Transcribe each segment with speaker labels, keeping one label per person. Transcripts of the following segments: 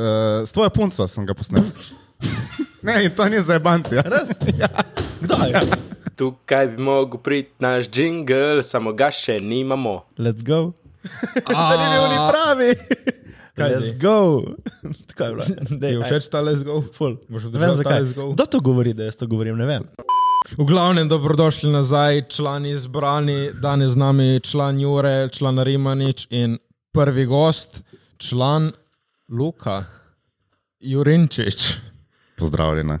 Speaker 1: Uh, s tvojo punco sem ga posnel. ne, in to ni za banci.
Speaker 2: Res? ja. Kdaj? Ja.
Speaker 3: Tukaj bi mogel priti naš jingle, samo ga še nimamo.
Speaker 2: Let's go.
Speaker 1: to ni bil ni pravi.
Speaker 2: Kaj Let's
Speaker 4: zdaj?
Speaker 2: go. Tako je bilo.
Speaker 4: Ti
Speaker 2: Dej,
Speaker 4: je
Speaker 2: ajde.
Speaker 4: všeč ta let's go?
Speaker 2: Ful.
Speaker 4: Boš
Speaker 2: Ne vem
Speaker 4: održal ta
Speaker 2: zakaj.
Speaker 4: let's go?
Speaker 2: Kdo to govori, da jaz to govorim, ne vem.
Speaker 4: V glavnem, dobrodošli nazaj, člani izbrani. Danes z nami član Jure, član Rimanič in prvi gost, član Luka Jurinčič.
Speaker 1: Pozdravljena.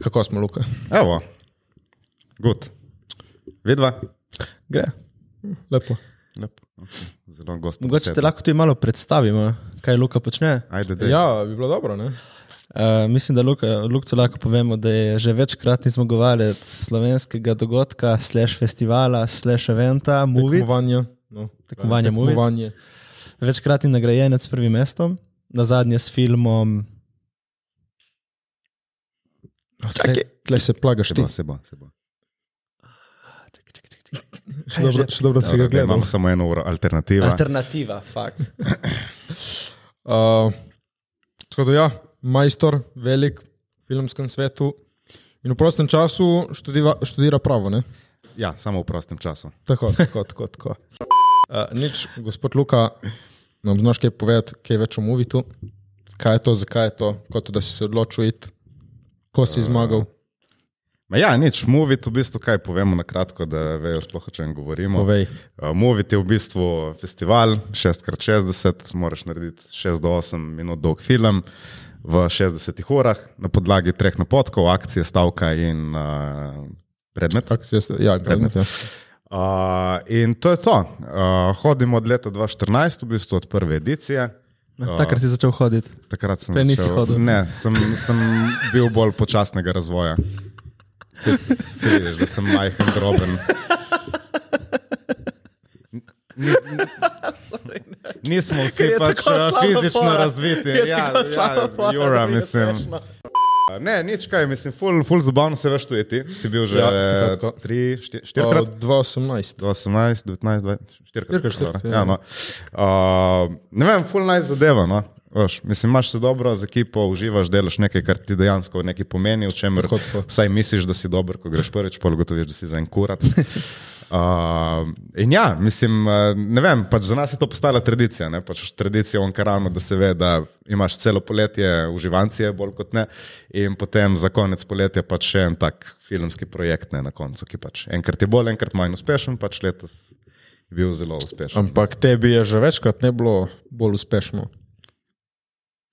Speaker 4: Kako smo, Luka?
Speaker 1: Evo, gut. Vedva?
Speaker 2: Gre.
Speaker 4: Lepo.
Speaker 1: Lep. Okay. Zelo gost.
Speaker 2: Mogoče te lahko tudi malo predstavimo, kaj Luka počne.
Speaker 1: Ajde, da. Ja.
Speaker 4: Ja, bi bilo dobro, ne?
Speaker 2: Uh, mislim, da Luka, Lukcu lahko povemo, da je že večkratni zmagovalec slovenskega dogodka, slash festivala, slash eventa, Movie.
Speaker 4: Tekmovanje. No.
Speaker 2: Tekmovanje Movit.
Speaker 4: Tekmovanje.
Speaker 2: Večkratni nagrajenec s prvim mestom, na zadnje s filmom.
Speaker 4: Tle, tle se plagaš ti.
Speaker 1: Se bo, se bo. Se bo.
Speaker 4: Še dobro, še dobro da si ga
Speaker 1: Dobro,
Speaker 4: gledam.
Speaker 1: Ja, imamo samo eno uro alternativa. Alter...
Speaker 2: Alternativa, fakt.
Speaker 4: Uh, tako da, ja, majstor, velik v filmskem svetu in v prostem času študira, študira pravo. Ne?
Speaker 1: Ja, samo v prostem času.
Speaker 4: Tako, tako, tako. tako. Uh, nič, gospod Luka, nam znaš kaj povedati, kaj več o Movitu, kaj je to, zakaj je to, kot da si se odločil iti, ko si uh, zmagal.
Speaker 1: Ma ja, nič, Movit v bistvu kaj povemo na kratko, da vejo sploh o čem govorimo.
Speaker 4: Povej.
Speaker 1: Uh, Movit je v bistvu festival 6x60, moraš narediti 6 do 8 minut dolg film v 60 urah na podlagi treh napotkov, akcije, stavka in uh, predmet.
Speaker 4: Kako si jaz? Ja, predmet. Ja.
Speaker 1: Uh, in to je to. Uh, hodimo od leta 2014, v bistvu od prve edicije.
Speaker 2: No. Takrat si začel hoditi.
Speaker 1: Takrat sem
Speaker 2: Te nisi
Speaker 1: začel-
Speaker 2: hodil.
Speaker 1: Ne, sem, sem bil bolj počasnega razvoja. Se, se vidiš, da sem majhen, droben. Ni- ni- Nismo vsi pač eh, fizično razviti. Ja, ja, Jura, mislim. Ne, nič kaj, mislim, ful, ful zabavno se veš tujiti. Si bil že
Speaker 4: Ja,
Speaker 1: ja,
Speaker 4: tako, tako.
Speaker 1: 3, 4 krat.
Speaker 4: Od 2018.
Speaker 1: 18, 19, 20, 4
Speaker 4: Štirikrat, štirikrat,
Speaker 1: Ja, no. uh, ne vem, full naj zadeva. No. Veš, mislim, imaš se dobro z ekipo, uživaš, delaš nekaj, kar ti dejansko nekaj pomeni, v čemer
Speaker 4: Tako, tako.
Speaker 1: vsaj misliš, da si dober, ko greš prvič, pa ugotoviš, da si za en kurat. Uh, in ja, mislim, eh, ne vem, pač za nas je to postala tradicija. Ne? Pač tradicija v Ankaranu, da se ve, da imaš celo poletje uživancije, bolj kot ne, in potem za konec poletja pač še en tak filmski projekt ne, na koncu, ki pač enkrat je bolj, enkrat manj uspešen, pač letos je bil zelo uspešen.
Speaker 4: Ampak tebi je že večkrat ne bilo bolj uspešno.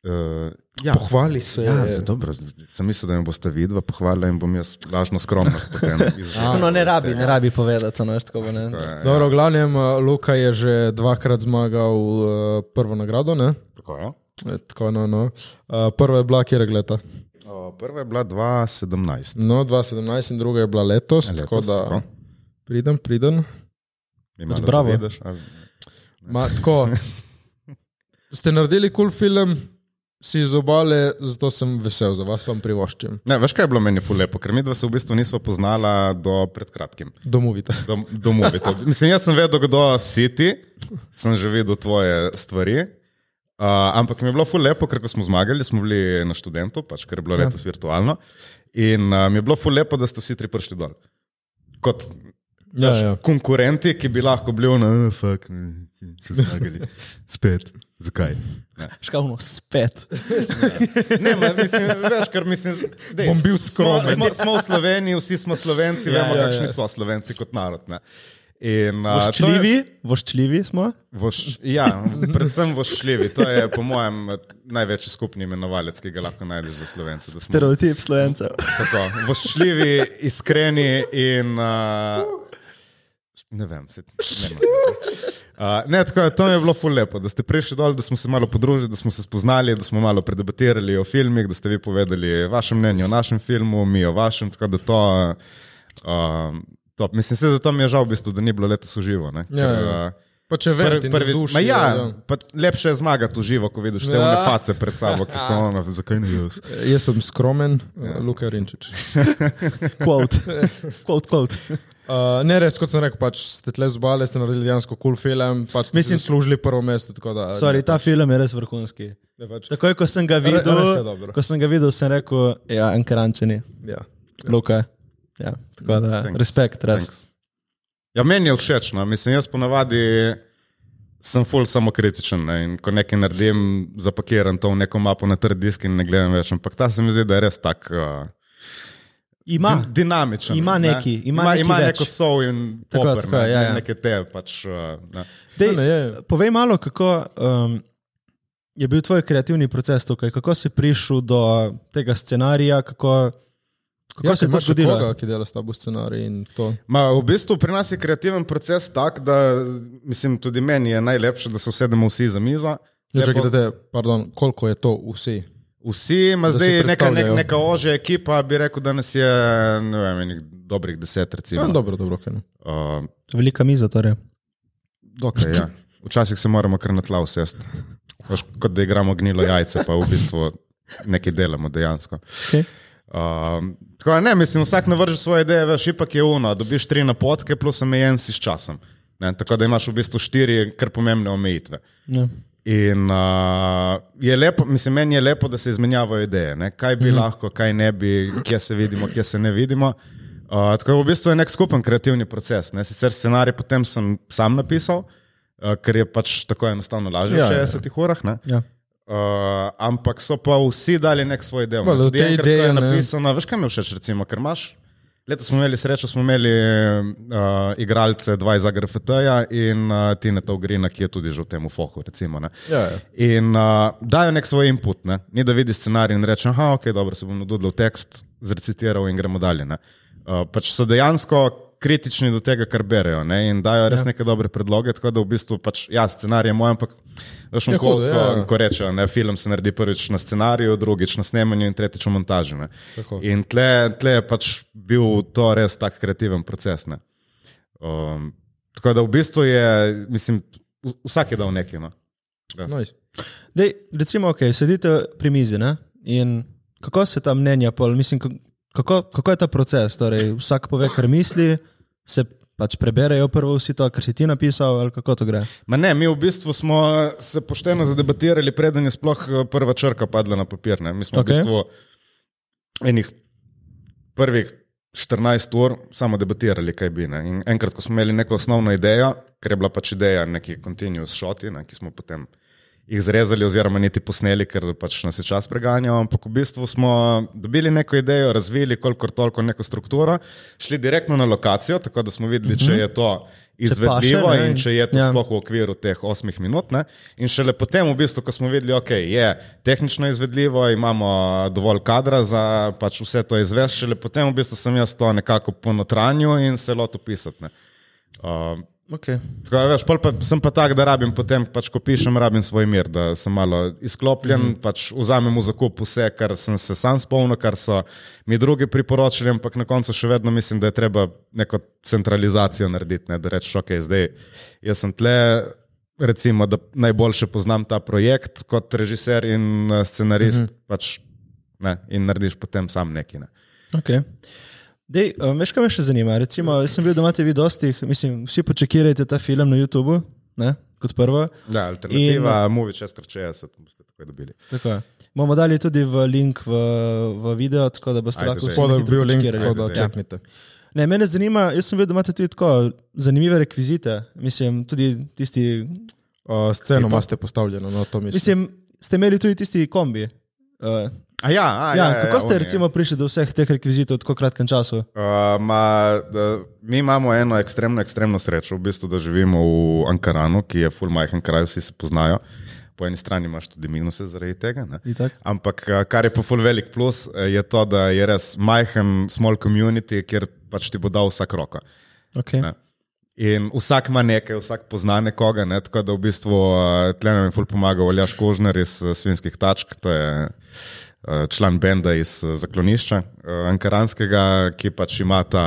Speaker 1: Uh, ja.
Speaker 4: Pohvali se.
Speaker 1: Ja, zdaj dobro, zdaj sem mislil, da me boste vidva pohvalila in bom jaz lažno skromnost potem izžgal.
Speaker 2: No, ne rabi, ne rabi povedati, no, tako bo ne.
Speaker 4: Dobro, v glavnem, eh, Luka je že dvakrat zmagal eh, prvo nagrado. Ne?
Speaker 1: Tako, ja.
Speaker 4: E, Tako, no, no. Eh, Prva je bila kjer leta,
Speaker 1: Uh, prva je bila 2017.
Speaker 4: no, 2017, in druga je bila letos. letos tako da tako.
Speaker 1: tako.
Speaker 4: pridem, pridem.
Speaker 1: Mi malo
Speaker 4: bravo.
Speaker 1: zavidaš, ali-
Speaker 4: Ma, tako, ste naredili kul cool film, si iz obale, zato sem vesel za vas, vam privoščim.
Speaker 1: Ne, veš, kaj je bilo meni fulepo, ker mi dva se v bistvu nismo poznala do pred kratkim.
Speaker 4: Domovite.
Speaker 1: Dom, domovi. to. Mislim, jaz sem vedel, kdo si ti, sem že videl tvoje stvari. Uh, ampak mi je bilo fulepo, ker ko smo zmagali, smo bili na študentu, pač, ker je
Speaker 4: Ja.
Speaker 1: bilo letos virtualno. In uh, mi je bilo fulepo, da ste vsi tri prišli dol. Kot
Speaker 4: Ja,
Speaker 1: pač,
Speaker 4: ja.
Speaker 1: konkurenti, ki bi lahko bili na, "Ah, fuck, ne, so zmagali. Spet, zakaj? Ne.
Speaker 2: Škavno, spet.
Speaker 1: Ne, ma, mislim, veš, ker mislim, da
Speaker 4: Bom bil skromen.
Speaker 1: Smo, smo v Sloveniji, vsi smo Slovenci, ja, vemo, ja,
Speaker 4: ja, ja.
Speaker 1: kakšni so Slovenci kot narod. Ne? In, a, to je-
Speaker 2: Voščljivi, voščljivi smo.
Speaker 1: Voš, ja, predvsem vošljivi. To je, po mojem, največji skupni imenovalec, ki ga lahko najdeš za Slovence. da smo
Speaker 2: Stereotip slovencev.
Speaker 1: Tako, vošljivi, iskreni in. Uh, ne vem, se ne vem. Uh, ne, tako je, to mi je bilo ful lepo, da ste prišli dol, da smo se malo podružili, da smo se spoznali, da smo malo predebatirali o filmih, da ste vi povedali vaše mnenje o našem filmu, mi o vašem, tako da to. Uh, top. Mislim, se zato mi je žal, v bistvu, da ni bilo letos uživo. ne,
Speaker 4: Ja,
Speaker 1: ker,
Speaker 4: ja.
Speaker 1: eh,
Speaker 4: Pa če verjamem,
Speaker 1: Prvi,
Speaker 4: duši,
Speaker 1: ma ja, pa lepše je zmagati uživo, ko vidiš vse
Speaker 4: Ja.
Speaker 1: one face pred sabo, ki so ono, zakaj ne jaz.
Speaker 4: ja. Jaz sem skromen, ja. Luka Rinčič.
Speaker 2: Quote. Quote, quote.
Speaker 4: Uh, ne res, kot sem rekel, pač ste tle zbali, ste naredili dejansko kul cool film, pač ste
Speaker 2: Mislim-
Speaker 4: Mislim, služili prvo mesto. tako Da,
Speaker 2: Sorry, ta film je res vrhunski.
Speaker 4: Ne, pač,
Speaker 2: Takoj, ko sem ga videl,
Speaker 4: res je dobro.
Speaker 2: ko sem ga videl, sem rekel, ja, ankarančani,
Speaker 4: ja.
Speaker 2: Luka. Ja, tako da,
Speaker 1: Thanks.
Speaker 2: respekt, res.
Speaker 1: Thanks. Ja, meni je všeč, no. mislim, jaz ponavadi sem full samokritičen. Ne. In ko nekaj naredim, zapakiram to v neko mapo na trd disk in ne gledam več. Ampak ta se mi zdi, da je res tak. Uh,
Speaker 2: Ima,
Speaker 1: din- dinamičen.
Speaker 2: Ah, Ima neki,
Speaker 1: ne.
Speaker 2: ima
Speaker 1: ima,
Speaker 2: neki
Speaker 1: ima
Speaker 2: več.
Speaker 1: neko soul in
Speaker 2: Tako,
Speaker 1: popper,
Speaker 2: tako,
Speaker 1: ne,
Speaker 2: ja, ja.
Speaker 1: neke te pač. Uh, ne.
Speaker 2: Dej,
Speaker 4: Ne, ne, je, je.
Speaker 2: Povej malo, kako um, je bil tvoj kreativni proces tukaj, kako si prišel do tega scenarija, kako, kako
Speaker 4: Ja,
Speaker 2: se je to
Speaker 4: imaš še
Speaker 2: zgodilo.
Speaker 4: Koga, ki dela s tabo scenarij in to.
Speaker 1: Ma, v bistvu pri nas je kreativen proces tak, da mislim, tudi meni je najlepše, da se usedemo vsi za mizo.
Speaker 4: Ja,
Speaker 1: Lepo-
Speaker 4: čakaj, da te, pardon, koliko je to vsi?
Speaker 1: Vsi, ima
Speaker 4: Da si
Speaker 1: zdaj neka, nek,
Speaker 4: predstavljajo.
Speaker 1: neka ožja ekipa, bi rekel, da nas je ne vem, enih dobrih deset. Recimo.
Speaker 4: Ja, dobro, dobro, kaj ne.
Speaker 1: Uh,
Speaker 2: Velika miza torej.
Speaker 1: dokaj, ja. Včasih se moramo kar na tla usesti. Veš, Kot da igramo gnilo jajce, pa v bistvu nekaj delamo dejansko.
Speaker 2: Okay.
Speaker 1: Um, tako da ne, mislim, vsak navrže svoje ideje, veš, ipak je uno, dobiš tri napotke, plus omejen si s časom. Ne, tako da imaš v bistvu štiri kar pomembne omejitve.
Speaker 2: Ja.
Speaker 1: In uh, je lepo, mislim, meni je lepo, da se izmenjavajo ideje, ne? kaj
Speaker 4: Mhm.
Speaker 1: bi mm -hmm. lahko, kaj ne bi, kje se vidimo, kje se ne vidimo. Uh, tako da v bistvu je nek skupen kreativni proces. Ne? Sicer scenarij potem sem sam napisal, uh, ker je pač tako enostavno lažje
Speaker 4: Ja,
Speaker 1: v
Speaker 4: ja, ja.
Speaker 1: 60 urah. Ne?
Speaker 2: Ja.
Speaker 1: Uh, ampak so pa vsi dali nek svoj del.
Speaker 4: Malo,
Speaker 1: Tudi
Speaker 4: te
Speaker 1: enkrat, ko
Speaker 4: ideje,
Speaker 1: je
Speaker 4: ne.
Speaker 1: napisano, veš, kaj mi je všeč, recimo, ker imaš. Leto smo imeli srečo, smo imeli uh, igralce, dva iz AGRFT-ja in uh, Tina Taugrina, ki je tudi že v tem fohu. Recimo, ne.
Speaker 4: Ja, ja.
Speaker 1: In uh, dajo nek svoj input, ne? ni da vidi scenarij in reče: Ah, ok, dobro, se bom nadudil v tekst, zrecitiral in gremo dalje. ne." Uh, pač so dejansko kritični do tega, kar berejo ne? in dajo res ja. neke dobre predloge. Tako da v bistvu, pač, ja, scenarij je moj, ampak veš,
Speaker 4: Ja,
Speaker 1: ja,
Speaker 4: hudo,
Speaker 1: ko,
Speaker 4: ja, ja.
Speaker 1: ko, ko rečejo, ne, film se naredi prvič na scenariju, drugič na snemanju in tretjič v montaži. Ne.
Speaker 4: Tako.
Speaker 1: In tle, tle je pač bil to res tak kreativen proces. ne. Um, tako da v bistvu je, mislim, v- vsak je dal nekaj. No.
Speaker 4: Nice.
Speaker 2: Dej, recimo, okay, sedite pri mizi ne? in kako se ta mnenja pol, mislim, ka- kako, kako je ta proces? Torej, vsak pove, kar misli, se pač preberejo prvo vsi to, kar si ti napisal, ali kako to gre.
Speaker 1: Ma ne, mi v bistvu smo eh, se pošteno zadebatirali, preden je sploh eh, prva črka padla na papir. Ne. Mi smo okay.
Speaker 2: Okej.
Speaker 1: v bistvu enih prvih 14 ur samo debatirali, kaj bi. Ne. In enkrat, ko smo imeli neko osnovno idejo, ker je bila pač ideja neki continuous shoti, ne, ki smo potem jih zrezali oziroma niti posneli, ker pač nas je čas preganjal, ampak v bistvu smo dobili neko idejo, razvili kolikor toliko neko strukturo, šli direktno na lokacijo, tako da smo videli, če je to izvedljivo
Speaker 2: Mhm. paše, ne,
Speaker 1: in če je to
Speaker 2: ja.
Speaker 1: sploh v okviru teh osmih minut. Ne? In šele potem, v bistvu, ko smo videli, da okay, je tehnično izvedljivo, imamo dovolj kadra za pač vse to izvesti, šele potem v bistvu sem jaz to nekako ponotranju in se lotil pisati. ne. Um,
Speaker 2: Okay.
Speaker 1: Tako, da, veš, pol pa, sem pa tak, da rabim potem, pač, ko pišem, rabim svoj mir, da sem malo izklopljen, mm -hmm. pač vzamem v zakup vse, kar sem se sam spomnil, kar so mi drugi priporočili, ampak na koncu še vedno mislim, da je treba neko centralizacijo narediti, ne, da rečeš, ok, zdaj jaz sem tle. Recimo, da najboljše poznam ta projekt kot režiser in eh, scenarist, mm -hmm. pač, ne, in narediš potem sam nekaj. Ne.
Speaker 2: Okay. Dej, um, veš, kaj me še zanima? Recimo, jaz sem videl, da imate vi dosti, mislim, vsi počakirajte ta film na YouTubu, ne? kot prvo.
Speaker 1: Ja, alternativa, in... Movie 660, boste tako dobili.
Speaker 2: Tako. Bomo dali tudi v link v, v video, tako da boste
Speaker 1: Ajde,
Speaker 2: lahko
Speaker 1: zdaj.
Speaker 2: vsi
Speaker 4: Spodaj
Speaker 2: na
Speaker 4: je
Speaker 2: hitro
Speaker 4: bil link,
Speaker 2: počekirali.
Speaker 4: tako da
Speaker 1: Ja.
Speaker 4: čeknite.
Speaker 2: Ne, mene zanima, jaz sem videl, da imate tudi tako zanimive rekvizite, mislim, tudi tisti,
Speaker 4: Uh, sceno imate postavljeno, no to mislim.
Speaker 2: mislim, ste imeli tudi tisti kombi. Uh,
Speaker 1: A ja, a,
Speaker 2: ja,
Speaker 1: ja, ja,
Speaker 2: kako ste
Speaker 1: oni, ja.
Speaker 2: recimo prišli do vseh teh rekvizitov v tako kratkem času?
Speaker 1: Uh, ma, da, mi imamo eno ekstremno, ekstremno srečo, v bistvu, da živimo v Ankaranu, ki je full majhen kraj, vsi se poznajo. Po eni strani imaš tudi minuse zaradi tega. Ne?
Speaker 2: Itak.
Speaker 1: Ampak eh, kar je pa full velik plus, eh, je to, da je res majhen, small community, kjer pač ti bo dal vsak roko.
Speaker 2: Okay.
Speaker 1: Ne. In vsak ima nekaj, vsak pozna nekoga, ne? tako da v bistvu tleno mi je ful pomagal Aljaš Kožner iz eh, Svinskih tačk, to je eh, član benda iz eh, zaklonišča eh, Ankaranskega, ki pač ima ta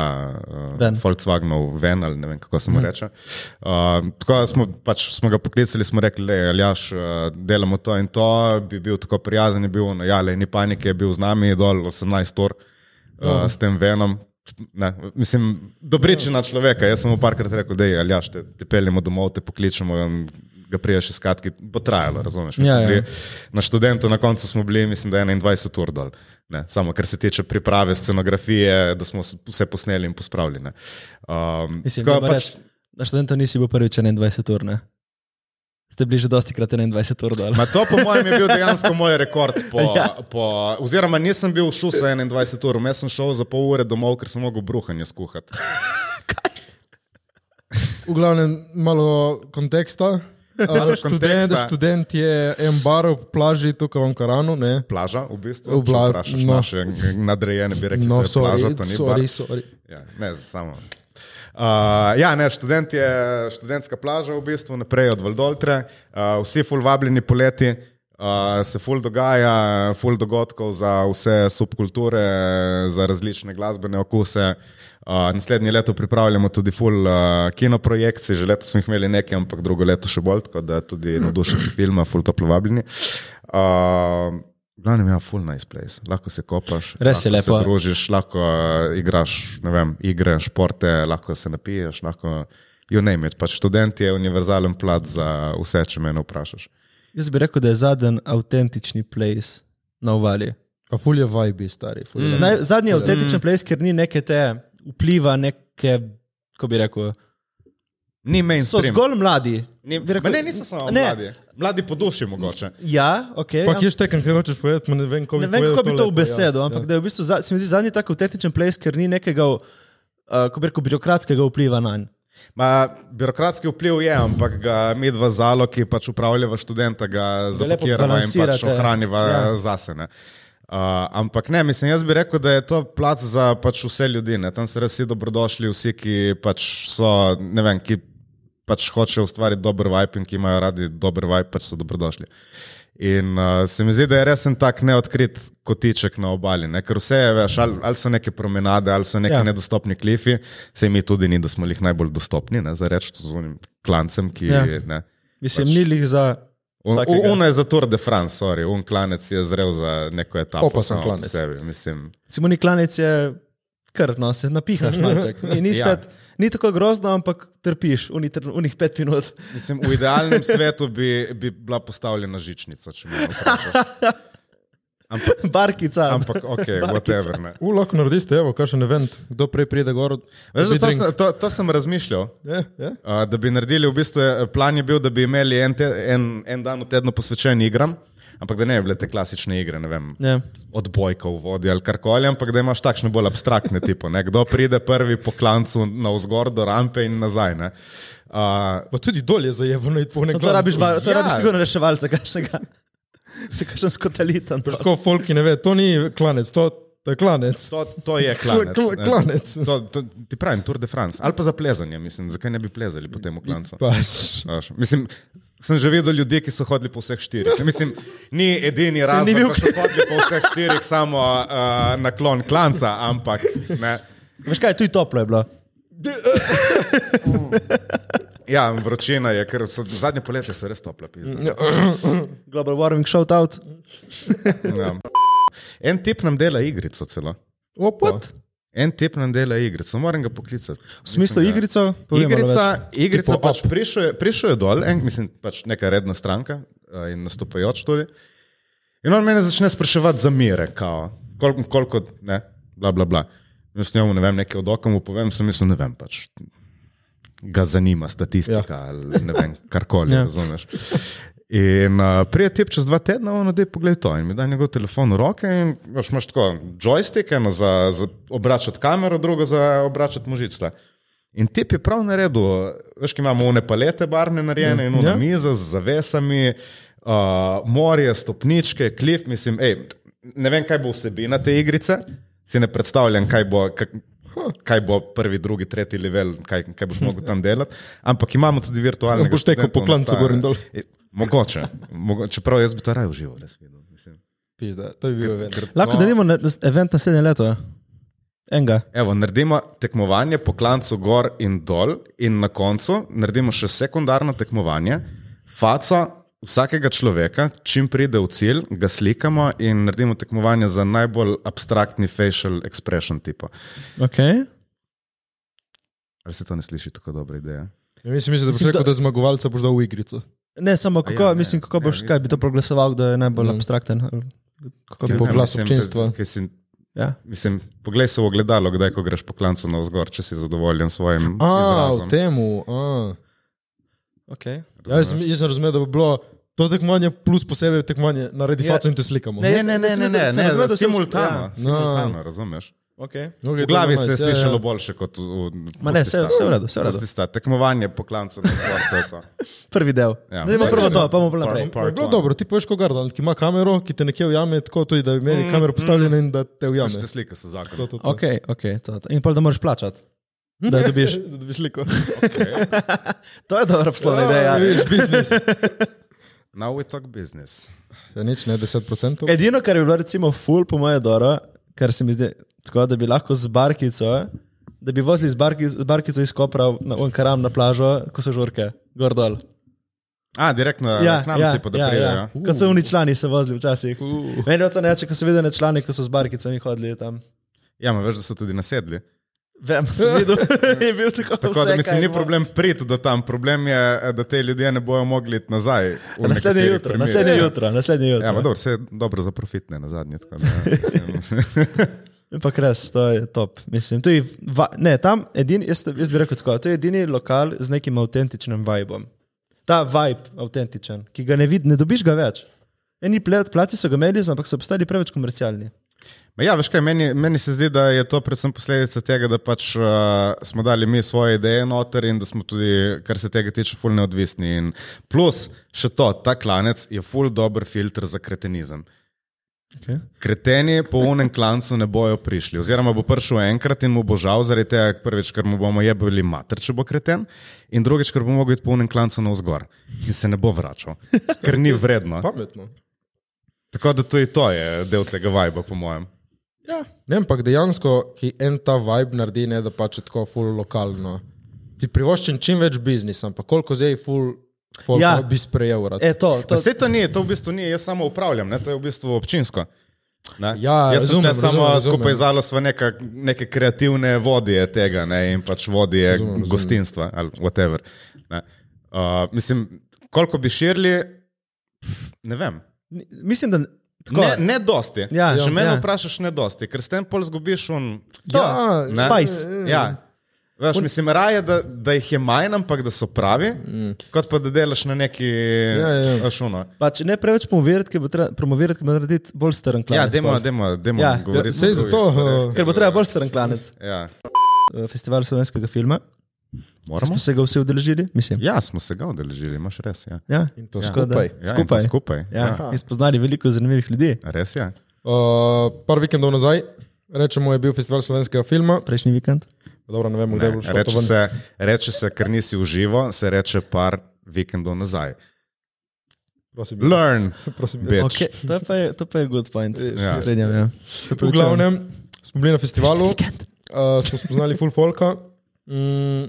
Speaker 1: eh,
Speaker 2: Van.
Speaker 1: Volkswagenov ven ali ne vem kako se mu reče. Uh, tako da smo, pač, smo ga poklicali, smo rekli, da je Aljaš, eh, delamo to in to, bi bil tako
Speaker 2: No.
Speaker 1: prijazen, je bil, ono, ja, le ni panike, je bil z nami dol 18 ur uh, Eh, s tem venom. Ne, mislim, dobričina človeka. Jaz sem mu parkrat rekel, da je aljaš, te, te peljemo domov, te pokličemo in ga priješ iskat, ki bo trajalo, razumeš? Mislim,
Speaker 2: Ja, ja.
Speaker 1: bili Na študentu na koncu smo bili, mislim, da 21 ur dol. Ne, samo kar se tiče priprave, scenografije, da smo s- vse posneli in pospravili. ne. Um,
Speaker 2: Mislim,
Speaker 1: tako
Speaker 2: da pač... na študentu nisi bil prvič 21 ur, ne? Ste bili že dosti krat 21 ur dol.
Speaker 1: Ma to, po mojem, je bil dejansko moj rekord. Po, ja.
Speaker 2: Ja.
Speaker 1: po, oziroma, nisem bil šel za 21 ur, jaz sem šel za pol ure domov, ker sem mogel bruhanje skuhati.
Speaker 4: V glavnem, malo konteksta. Uh, študent,
Speaker 1: konteksta.
Speaker 4: študent je en bar ob plaži tukaj v Ankaranu, ne?
Speaker 1: Plaža, v bistvu,
Speaker 4: V
Speaker 1: Obla,
Speaker 4: bla-
Speaker 1: če vprašaš no.
Speaker 4: no.
Speaker 1: naše nadrejene, bi rekli, no,
Speaker 4: No,
Speaker 1: da je sorry, plaža,
Speaker 4: sorry,
Speaker 1: to ni bar.
Speaker 4: sorry, sorry.
Speaker 1: Ja, ne, samo. Uh, ja, ne, študent je študentska plaža, v bistvu naprej od Valdoltre, uh, vsi ful vabljeni poleti, uh, se ful dogaja, ful dogodkov za vse subkulture, za različne glasbene okuse. Uh, naslednje leto pripravljamo tudi ful uh, kinoprojekcij, že leto smo jih imeli nekaj, ampak drugo leto še bolj, tako da tudi navdušenci filma, ful toplo vabljeni. Uh, V glavnem, ja, full nice place. Lahko se kopaš,
Speaker 2: Res je
Speaker 1: lahko se
Speaker 2: lepo.
Speaker 1: družiš, lahko eh, igraš ne vem, igre, športe, lahko se napiješ, lahko jo ne imeš. Pač študent je univerzalen plat za vse, če me ne vprašaš.
Speaker 2: Jaz bi rekel, da je zadnji avtentični place na ovali.
Speaker 4: A ful je vibe, stari. Ful je
Speaker 2: Mm.
Speaker 4: vibe.
Speaker 2: Naj, zadnji avtentičen mm. place, ker ni neke te vpliva, neke, kako bi rekel,
Speaker 1: Ni
Speaker 2: so
Speaker 1: mainstream.
Speaker 2: zgolj mladi.
Speaker 1: Ni,
Speaker 2: Bi
Speaker 1: Ma ne, niso samo
Speaker 2: Ne.
Speaker 1: mladi. Mladi po duši mogoče.
Speaker 2: Ja, ok.
Speaker 4: Fak, jaz tekam, kaj hočeš povedati, ma ne vem, kako bi,
Speaker 2: Ne vem, kako bi to v besedo,
Speaker 4: ja,
Speaker 2: ampak ja. da je v bistvu za- se mi zdi zadnji tako avtentičen place, ker ni nekega, uh, kako bi rekel, birokratskega vpliva na njega.
Speaker 1: Ma, birokratski vpliv je, ampak ga mi dva zalo, ki pač upravljava študenta, ga zapakirava in pač
Speaker 2: balansirate.
Speaker 1: ohraniva ja.
Speaker 2: Ja.
Speaker 1: zase. Ne. Uh, ampak ne, mislim, jaz bi rekel, da je to plac za pač vse ljudi. Ne. Tam so res vsi dobrodošli, vsi, ki pač so, ne vem, ki pač hočejo ustvariti dober vibe in ki imajo radi dober vibe, pač so dobrodošli. In uh, se mi zdi, da je res en tak neodkrit kotiček na obali, ne? ker vse je, veš, ali, ali so neke promenade, ali so neki ja.
Speaker 2: Ja.
Speaker 1: nedostopni klifi, se mi tudi ni, da smo jih najbolj dostopni, ne? za reči z unim klancem, ki
Speaker 2: Ja.
Speaker 1: je. Ja.
Speaker 2: Mislim, pač. ni lih za. vsakega.
Speaker 1: Uno je za Tour de France, sorry, un klanec je zrel za neko etapo.
Speaker 4: Opasen
Speaker 1: samo po
Speaker 4: klanec.
Speaker 1: Sebi, mislim.
Speaker 2: Simoni Klanec je kar, no se napihaš, maček. Ni, ni, spet, ja. ni tako grozno, ampak trpiš, unih, unih pet minut.
Speaker 1: mislim, v idealnem svetu bi, bi bila postavljena žičnica, če me vprašaš. Ampak,
Speaker 2: Barkica.
Speaker 1: ampak ok, whatever. Ne.
Speaker 4: U, lahko narediš, evo, kakšen event, kdo prej pride gor.
Speaker 1: Veš, da
Speaker 4: dobi
Speaker 1: to,
Speaker 4: drink.
Speaker 1: sem, to, to sem razmišljal.
Speaker 4: Je, je.
Speaker 1: Uh, da bi naredili, v bistvu je, plan je bil, da bi imeli en, te, en, en dan v tednu posvečen igram, ampak da ne bi bile te klasične igre, ne vem,
Speaker 2: Ja.
Speaker 1: odbojka v vodi ali karkoli, ampak da imaš takšne bolj abstraktne tipe. Ne? Kdo pride prvi po klancu na vzgor do rampe in nazaj. Ne? Uh,
Speaker 4: Pa tudi dol je zajebano, iti po
Speaker 2: To,
Speaker 4: nekem.
Speaker 2: to rabiš, va- to
Speaker 1: Ja.
Speaker 2: ja. rabiš sigurno reševalca, kakšnega. Se no. kakšen skotalitan.
Speaker 4: Tako folki ne ve, to ni klanec, to, to je klanec.
Speaker 1: to, to je klanec.
Speaker 4: Kl- kl-
Speaker 1: ne.
Speaker 4: klanec.
Speaker 1: To, to, ti pravim, Tour de France. Ali pa za plezanje, mislim, zakaj ne bi plezali po tem klancu.
Speaker 4: Paš.
Speaker 1: Znaš, Mislim, sem že videl ljudi, ki so hodili po vseh štirih. Mislim, ni edini razlog,
Speaker 2: bil
Speaker 1: da so hodili po vseh štirih, samo uh, naklon klanca, ampak ne.
Speaker 2: Veš kaj, tu je toplo je bilo.
Speaker 1: Ja, vročina je, ker so zadnje poletje so res topla. pizda.
Speaker 2: Global warming, shout out.
Speaker 1: Ja. En tip nam dela igrico celo.
Speaker 4: Opa.
Speaker 1: En tip nam dela igrico, moram ga poklicati.
Speaker 2: V smislu
Speaker 1: Mislim, da-
Speaker 2: igrico, povem, malo več.
Speaker 1: Igrica, igrica
Speaker 4: Tipo
Speaker 1: pač prišel je- prišel je dol, en, mislim, pač neka redna stranka eh, in nastopajoč tudi. In on mene začne spraševati za mire, kao, koliko, koliko ne, bla, bla, bla. Jaz njemu ne vem, nekaj od oka mu povem, sem mislil, ne vem, pač ga zanima statistika ja. ali ne vem, karkoli, ja.
Speaker 2: Ja.
Speaker 1: razumeš. In uh, prije tip čez dva tedna, ono, da je pogled to. In mi da njegov telefon v roke, in veš, imaš tako joystick, eno za, za obračati kamero, drugo za obračati možice. In tip je prav naredil, veš, ki imamo one palete barvne narejene in one ja.
Speaker 4: Ja.
Speaker 1: mize z zavesami, uh, morje, stopničke, klif, mislim, ej, ne vem, kaj bo vsebina te igrice, si ne predstavljam, kaj bo, kak, kaj bo prvi, drugi, tretji level, kaj, kaj boš mogel tam delati. Ampak imamo tudi virtualne.
Speaker 4: Boš tekel po klancu gor in dol.
Speaker 1: E, Mogoče, mogoče, čeprav jaz bi to raje užival, res videl. mislim.
Speaker 4: Pizda, to bi bil event.
Speaker 2: Lahko no. delimo na, na event naslednje leto. ja. Enga.
Speaker 1: Evo, naredimo tekmovanje po klancu gor in dol, in na koncu naredimo še sekundarno tekmovanje. Faco vsakega človeka, čim pride v cilj, ga slikamo in naredimo tekmovanje za najbolj abstraktni facial expression tipo.
Speaker 2: Okay.
Speaker 1: Ali se to ne sliši tako dobra ideja?
Speaker 4: Ja, mislim, mislim, da boš
Speaker 2: Mislim,
Speaker 4: rekel,
Speaker 2: da-
Speaker 4: da zmagovalca boš dal v igrico.
Speaker 2: Ne, samo kako,
Speaker 1: ja, ne,
Speaker 2: ja, ne, mislim, kako
Speaker 1: ne,
Speaker 2: boš,
Speaker 1: nisem.
Speaker 2: kaj bi to proglasoval, da je najbolj
Speaker 4: Mm.
Speaker 2: mm. abstrakten. ali kako
Speaker 4: Ti
Speaker 2: bi-
Speaker 4: bo- glas
Speaker 1: Ja, mislim,
Speaker 4: občinstva.
Speaker 1: te- ker si-
Speaker 2: Ja.
Speaker 1: Mislim, poglej se v ogledalo, kdaj ko greš po klancu na vzgor, če si zadovoljen s svojim.
Speaker 4: A,
Speaker 1: izrazom.
Speaker 4: v temu. A.
Speaker 2: Okay.
Speaker 4: Ja, jaz, sem- jaz sem razumel, da bi bilo to tekmovanje plus posebej tekmovanje, naredi
Speaker 2: Ja.
Speaker 4: faco in te slikamo.
Speaker 2: Ne,
Speaker 1: Ne, ne, ne,
Speaker 2: jaz
Speaker 1: ne,
Speaker 2: sem-
Speaker 1: ne,
Speaker 2: sem
Speaker 1: ne,
Speaker 2: razumel, da
Speaker 1: ne
Speaker 2: sem-
Speaker 1: simultano,
Speaker 2: ja.
Speaker 1: simultano, razumeš?
Speaker 2: Okay.
Speaker 4: Okay,
Speaker 1: V glavi se je
Speaker 4: Ja,
Speaker 1: slišalo boljše kot v. v
Speaker 2: ja, Ma ne,
Speaker 1: pusti
Speaker 2: vse-
Speaker 1: sta.
Speaker 2: vse v redu, vse v redu.
Speaker 1: Pusti sta, Tekmovanje po klancu na vzgor, to je to.
Speaker 2: Prvi del.
Speaker 1: Ja.
Speaker 2: Ja. Zdaj imamo prvo to, pa bomo pa
Speaker 1: Prvo.
Speaker 2: naprej.
Speaker 4: Je
Speaker 1: Part
Speaker 4: bilo
Speaker 1: one.
Speaker 4: dobro, ti poješ kot Gardan, ki ima kamero, ki te nekje ujame, tako tudi, da bi imeli mm, kamero postavljeno in da te ujame.
Speaker 1: Vse Pač slike so zakon.
Speaker 4: To, to, to.
Speaker 2: Okay, okay, to, je to. In pa da moraš plačati.
Speaker 4: Hm?
Speaker 2: Da jo dobiš.
Speaker 4: da bi sliko.
Speaker 2: To je dobra poslovna ideja.
Speaker 4: Ja, vidiš, biznis.
Speaker 1: Now we talk business.
Speaker 4: Ja, nič, ne 10%.
Speaker 2: Edino, kar bi bilo recimo ful po moje doro, kar se mi zdi tako, da bi lahko z barkico, da bi vozili z, barki, z barkico iz Kopra na Onkaram na plažo, ko so žurke, gor dol.
Speaker 1: A, direktno ja, k nam ja, tipo, da ja, pridejo. Ja.
Speaker 2: Kot so oni člani se vozili včasih. Uh. Meni je to neče, ko sem videl na člani, ko so z barkicami hodili tam.
Speaker 1: ja, ma veš, da so tudi nasedli.
Speaker 2: Vem, sem videl, je bil tako.
Speaker 1: Tako
Speaker 2: vse,
Speaker 1: da mislim,
Speaker 2: kaj
Speaker 1: ni
Speaker 2: mo-
Speaker 1: problem priti do tam, problem je, eh, da te ljudje ne bojo mogli iti nazaj. v
Speaker 2: Naslednje
Speaker 1: nekaterih
Speaker 2: jutro,
Speaker 1: primerih.
Speaker 2: naslednje jutro, naslednje jutro.
Speaker 1: Ja, ma dobro, vse je dobro za profitne na zadnje. tako da, mislim.
Speaker 2: Ampak res, to je top. Mislim, to je va, ne, tam edini, jaz, jaz bi rekel tako, to je edini lokal z nekim avtentičnim vibom. Ta vibe avtentičen, ki ga ne vidiš, ne dobiš ga več. Eni pla- placi so ga imeli, ampak so postali preveč komercialni.
Speaker 1: Ma Ja, veš kaj, meni, meni se zdi, da je to predvsem posledica tega, da pač uh, smo dali mi svoje ideje noter in da smo tudi, kar se tega tiče, ful neodvisni. In plus, še to, ta klanec je ful dober filter za kretenizem.
Speaker 2: Okay.
Speaker 1: Kreteni po unem klancu ne bojo prišli, oziroma bo prišel enkrat in mu bo žal zaradi tega, prvič, ker mu bomo jebali mater, če bo kreten, in drugič, ker bo mogel iti po unem klancu na vzgor in se ne bo vračal, ker ni vredno.
Speaker 4: Pametno.
Speaker 1: Tako da to je to, je del tega vibra, po mojem.
Speaker 4: Ne, ampak dejansko, ki en ta vibe naredi, ne da pač je tako full lokalno. Ti privoščim čim več biznisa, ampak koliko zdaj full, full
Speaker 2: Ja.
Speaker 4: ja. bi sprejel rad.
Speaker 2: E, to,
Speaker 1: To...
Speaker 2: to,
Speaker 1: Vse to ni, to v bistvu ni, jaz samo upravljam, ne? to je v bistvu občinsko. Ne?
Speaker 4: Ja,
Speaker 1: jaz sem
Speaker 4: razumem,
Speaker 1: te
Speaker 4: razumem,
Speaker 1: samo
Speaker 4: razumem.
Speaker 1: skupaj zalo sva neka, neke kreativne vodje tega ne? in pač vodje razumem,
Speaker 4: razumem.
Speaker 1: gostinstva razumem. ali whatever. ne. Uh, mislim, koliko bi širili, pf, ne vem.
Speaker 2: ni- mislim, da tako,
Speaker 1: Ne, ne dosti.
Speaker 2: Ja,
Speaker 1: Če
Speaker 2: ja,
Speaker 1: mene
Speaker 2: ja.
Speaker 1: vprašaš, ne dosti, ker s tem pol zgubiš un.
Speaker 2: to,
Speaker 4: Ja,
Speaker 1: ne.
Speaker 2: spice.
Speaker 1: Ja. Veš, mislim, raje, da, da jih je manj, ampak da so pravi, mm. kot pa da delaš na neki
Speaker 4: Ja, ja.
Speaker 1: šuno.
Speaker 2: Pač ne preveč promovirati, ker bo treba promovirati, ker bo narediti bolj stran
Speaker 1: Ja,
Speaker 2: klanec.
Speaker 1: demo,
Speaker 2: pol.
Speaker 1: demo, demo
Speaker 2: Ja,
Speaker 1: ja, govoriti.
Speaker 4: saj
Speaker 1: o drugih
Speaker 4: zato,
Speaker 1: stvareh,
Speaker 4: eh,
Speaker 2: Ker bo treba bolj stran klanec.
Speaker 1: Ja.
Speaker 2: Eh, Festival slovenskega filma,
Speaker 1: Moramo?
Speaker 2: smo se ga vsi udeležili, mislim.
Speaker 1: Ja, smo se ga odeležili, imaš res. Ja.
Speaker 2: Ja.
Speaker 4: In to
Speaker 2: Ja.
Speaker 4: skupaj.
Speaker 2: Tako da-
Speaker 1: Ja, in
Speaker 2: skupaj.
Speaker 1: to skupaj.
Speaker 2: Ja, in spoznali veliko zanimivih ljudi.
Speaker 1: Res ja. je.
Speaker 4: Uh, par vikendov nazaj, rečemo, je bil festival slovenskega filma.
Speaker 2: Prejšnji vikend.
Speaker 4: Dobro, ne vemo, kdaj bo
Speaker 1: Ne,
Speaker 4: šlo to
Speaker 1: reče,
Speaker 4: ven.
Speaker 1: se, reče se, ker nisi uživo, se reče par vikendov nazaj.
Speaker 4: Prosim,
Speaker 1: Learn,
Speaker 4: prosim.
Speaker 1: bitch.
Speaker 2: Okay, to, je pa je, to pa je good point.
Speaker 4: Ja.
Speaker 2: Ja. Strenjam, ja. Se
Speaker 4: V
Speaker 2: pravičujem.
Speaker 4: glavnem, smo bili na festivalu, uh, smo spoznali full folka. Mm,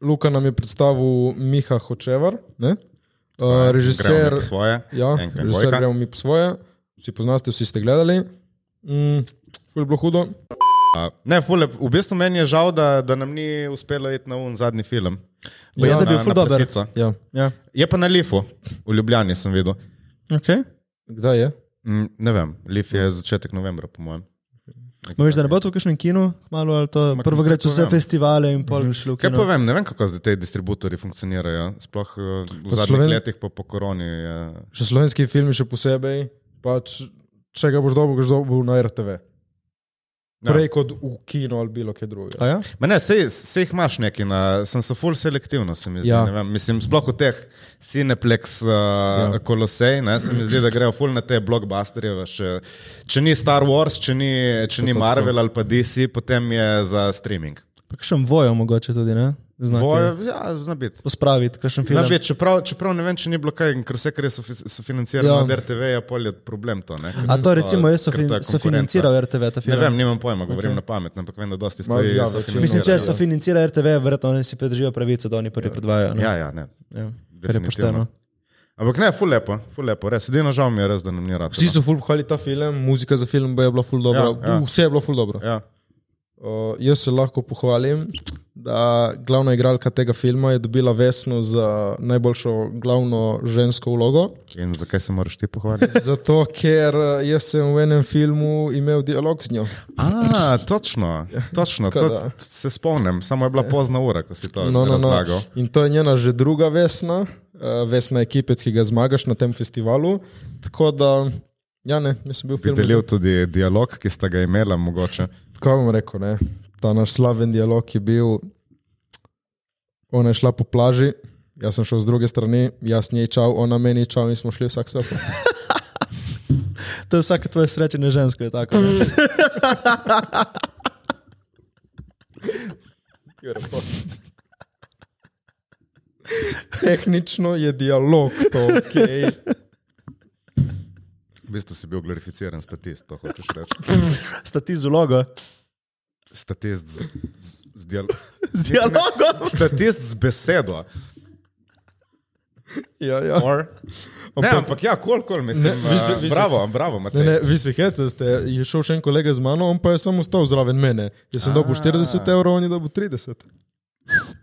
Speaker 4: Luka nam je predstavil Miha Hočevar, ne? uh,
Speaker 1: Gremo
Speaker 4: režiser.
Speaker 1: po svoje.
Speaker 4: Ja,
Speaker 1: Enka in
Speaker 4: režiser
Speaker 1: dvojka.
Speaker 4: gremo mi po svoje, vsi poznate, vsi ste gledali. Mm, ful je bilo hudo.
Speaker 1: A, Ne, fule, v bistvu meni je žal, da, da nam ni uspelo iti na un zadnji film.
Speaker 2: Ja, da bi
Speaker 1: Na-
Speaker 2: bil ful
Speaker 1: na
Speaker 2: dober.
Speaker 1: Presico.
Speaker 4: Ja.
Speaker 2: Ja.
Speaker 1: Je pa na Lifu, v Ljubljani sem videl.
Speaker 2: Okay.
Speaker 4: Kdaj je?
Speaker 1: Mm, Ne vem, Lif je začetek novembra, po mojem.
Speaker 2: Ma veš, da ne bo to v kakšnem kinu, malo ali to.
Speaker 1: Ma,
Speaker 2: Prvo
Speaker 1: kaj
Speaker 2: greš vse
Speaker 1: povem?
Speaker 2: festivale in pol greš v
Speaker 1: Kaj
Speaker 2: kino.
Speaker 1: pa vem, ne vem, kako zdaj ti distributori funkcionirajo. Sploh eh, v
Speaker 4: Pa
Speaker 1: zadnjih
Speaker 4: Sloven-
Speaker 1: Sloven... letih po, po koroni. Je...
Speaker 4: Še slovenski film, še posebej. Pač, če ga boš dobil, ga boš dobil na RTV.
Speaker 1: Ja.
Speaker 4: Prej kot v kino ali bilo kaj drugega.
Speaker 2: A Ja?
Speaker 1: Ma Ne, sej, sej jih imaš neki, na, sem se full selektivno, se mi zdi.
Speaker 4: Ja.
Speaker 1: Ja. Vem, mislim, sploh v teh Cineplex, uh, ja. Kolosej, ne, se mi zdi, da grejo full na te blockbusterje. veš, eh, Če ni Star Wars, če ni, če ni
Speaker 4: Tako,
Speaker 1: Marvel ali pa DC, potem je za streaming.
Speaker 2: Pa kakšen vojo mogoče tudi, ne? Znaki.
Speaker 1: Vojo, ja, zna biti.
Speaker 2: Pospraviti, kakšen film.
Speaker 1: Zna biti, čeprav, čeprav ne vem, če ni bilo kaj, ker vse, kar je sofi- sofinancirano
Speaker 4: Ja.
Speaker 1: ja. od RTV, je polje problem to. Ne, ker
Speaker 2: A to
Speaker 1: so-
Speaker 2: recimo jaz
Speaker 1: ker to je
Speaker 2: sofinanciral
Speaker 1: konkurenca.
Speaker 2: RTV ta
Speaker 1: Ne
Speaker 2: film.
Speaker 1: vem, nimam pojma, govorim okay. na pamet, ampak vem, da dosti
Speaker 4: Ma, ja,
Speaker 1: stvari
Speaker 4: večina.
Speaker 1: sofinancirajo.
Speaker 2: Mislim, če
Speaker 4: Ja.
Speaker 2: sofinancira RTV, verjetno oni si pridržijo pravico, da oni prvi predvajajo. ne?
Speaker 1: Ja, ja, ne.
Speaker 2: Ja, kar je
Speaker 1: definitivno.
Speaker 2: pošteno.
Speaker 1: Ampak ne, ful lepo, ful lepo, res. Edino žal mi je res, da nam ni rad.
Speaker 4: Vsi so ful hvali ta film, muzika za film bo je bila ful dobra,
Speaker 1: Ja, ja.
Speaker 4: vse je bilo ful dobro.
Speaker 1: Ja.
Speaker 4: Uh, jaz se lahko pohvalim, da glavna igralka tega filma je dobila Vesno za najboljšo glavno žensko vlogo.
Speaker 1: In zakaj se moraš ti pohvaliti?
Speaker 4: Zato, ker eh, jaz sem v enem filmu imel dialog z njo.
Speaker 1: A, točno, točno.
Speaker 4: Tako
Speaker 1: To,
Speaker 4: da.
Speaker 1: se spomnim, samo je bila pozna ura, ko si to
Speaker 4: No, no, no.
Speaker 1: razlagal.
Speaker 4: In to je njena že druga Vesna, eh, Vesna ekipet, ki ga zmagaš na tem festivalu. Tako da, ja, ne, jaz sem bil v
Speaker 1: Bi
Speaker 4: filmu.
Speaker 1: delil tudi dialog, ki sta ga imela, mogoče.
Speaker 4: Tako bom rekel, ne? ta naš slaven dialog je bil, ona je šla po plaži, jaz sem šel z druge strani, jaz njej čal, ona meni čal in smo šli vsak svoj.
Speaker 2: To je vsake tvoje srečanje žensko, je tako. ne?
Speaker 4: Tehnično je dialog to, okay.
Speaker 1: V bistvu si bil glorificiran statist, to hočeš reči.
Speaker 2: Stati z ulogo.
Speaker 1: Statist z, z, z dialogom.
Speaker 2: Z dialogom.
Speaker 1: Statist z besedo.
Speaker 4: ja, ja.
Speaker 1: Or... Ne, ampak ja, kol, kol, mislim.
Speaker 4: Ne, vizi-
Speaker 1: Ne,
Speaker 4: vizi-
Speaker 1: bravo, bravo,
Speaker 4: Ne,
Speaker 1: Matej.
Speaker 4: ne, vi se hecate, je šel še en kolega z mano, on pa je samo stal zraven mene. Jaz sem dobil 40 evrov, on je dobil 30.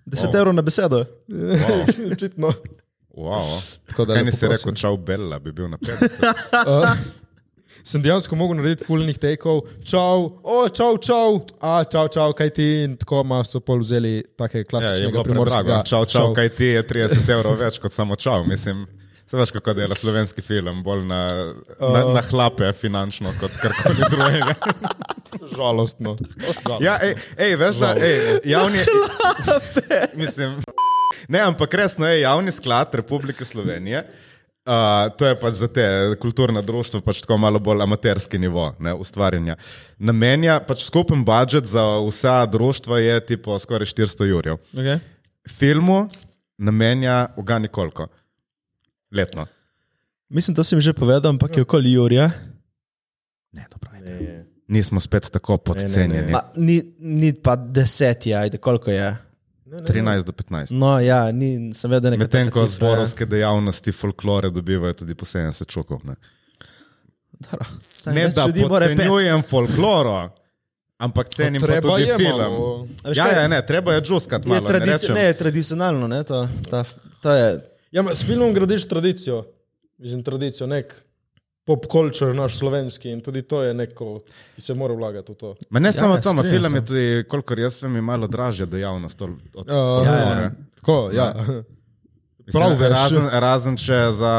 Speaker 2: 10 evrov na besedo.
Speaker 4: Wow. Očitno.
Speaker 1: Wow.
Speaker 4: Tako da
Speaker 1: Kaj
Speaker 4: lepo
Speaker 1: nisi
Speaker 4: prosim.
Speaker 1: rekel, čau Bella, bi bil na 50.
Speaker 4: Uh, sem dejansko mogel narediti fulnih tekov, čau, o, čau, čau, a, čau, čau, kaj ti in tako ma so pol vzeli take
Speaker 1: Ja, je
Speaker 4: klasičnega
Speaker 1: bilo predrago.
Speaker 4: primorskega.
Speaker 1: Čau, čau, kaj ti je 30 evrov več kot samo čau, mislim. Se veš, kako dela slovenski film, bolj na, na, na hlape finančno kot karkoli drugega.
Speaker 4: Žalostno.
Speaker 1: Ja, ej, ej, veš, da ej, javni. Mislim, ne, ampak resno je javni sklad Republike Slovenije. Uh, to je pač za te kulturna društva, pač tako malo bolj amaterski nivo ne, ustvarjanja. Namenja pač skupen budžet za vsa društva je tipo skoraj 400 jurjev.
Speaker 2: Okay.
Speaker 1: Filmu namenja ugani koliko? Letno.
Speaker 2: Mislim, to sem že povedal, ampak je okoli Jurija.
Speaker 1: Nismo spet tako podcenjeni.
Speaker 2: Ma, ni, ni pa deset, je, ajde, koliko je.
Speaker 1: 13 do 15.
Speaker 2: No, ja, ni, sem vedel nekaj. ja.
Speaker 1: Medtem ko zborovske dejavnosti folklore dobivajo tudi po 70 čukov. Ne? Ne, da podcenjujem folkloro, ampak cenim pa
Speaker 4: Treba
Speaker 1: tudi
Speaker 4: je
Speaker 1: film.
Speaker 4: malo.
Speaker 2: Veš
Speaker 1: Ja,
Speaker 2: kaj?
Speaker 1: ja, ne, treba je džuskati
Speaker 2: Je
Speaker 1: malo. Ne
Speaker 2: tradici
Speaker 1: rečem,
Speaker 2: ne, je tradicionalno, ne, to, ta, to je.
Speaker 4: Ja, ma, s filmom gradiš tradicijo, mislim tradicijo, nek pop culture naš slovenski in tudi to je neko, ki se mora vlagati v to.
Speaker 1: Ma ne samo
Speaker 2: ja,
Speaker 1: to, ma
Speaker 2: strinjam
Speaker 1: film je
Speaker 2: se.
Speaker 1: tudi, kolikor jaz vem, je malo dražja dejavnost od od
Speaker 2: Ja,
Speaker 4: Uh,
Speaker 1: folklore.
Speaker 4: Tako, ja.
Speaker 1: Mislim,
Speaker 4: prav
Speaker 2: ja.
Speaker 4: veš.
Speaker 1: razen, razen če za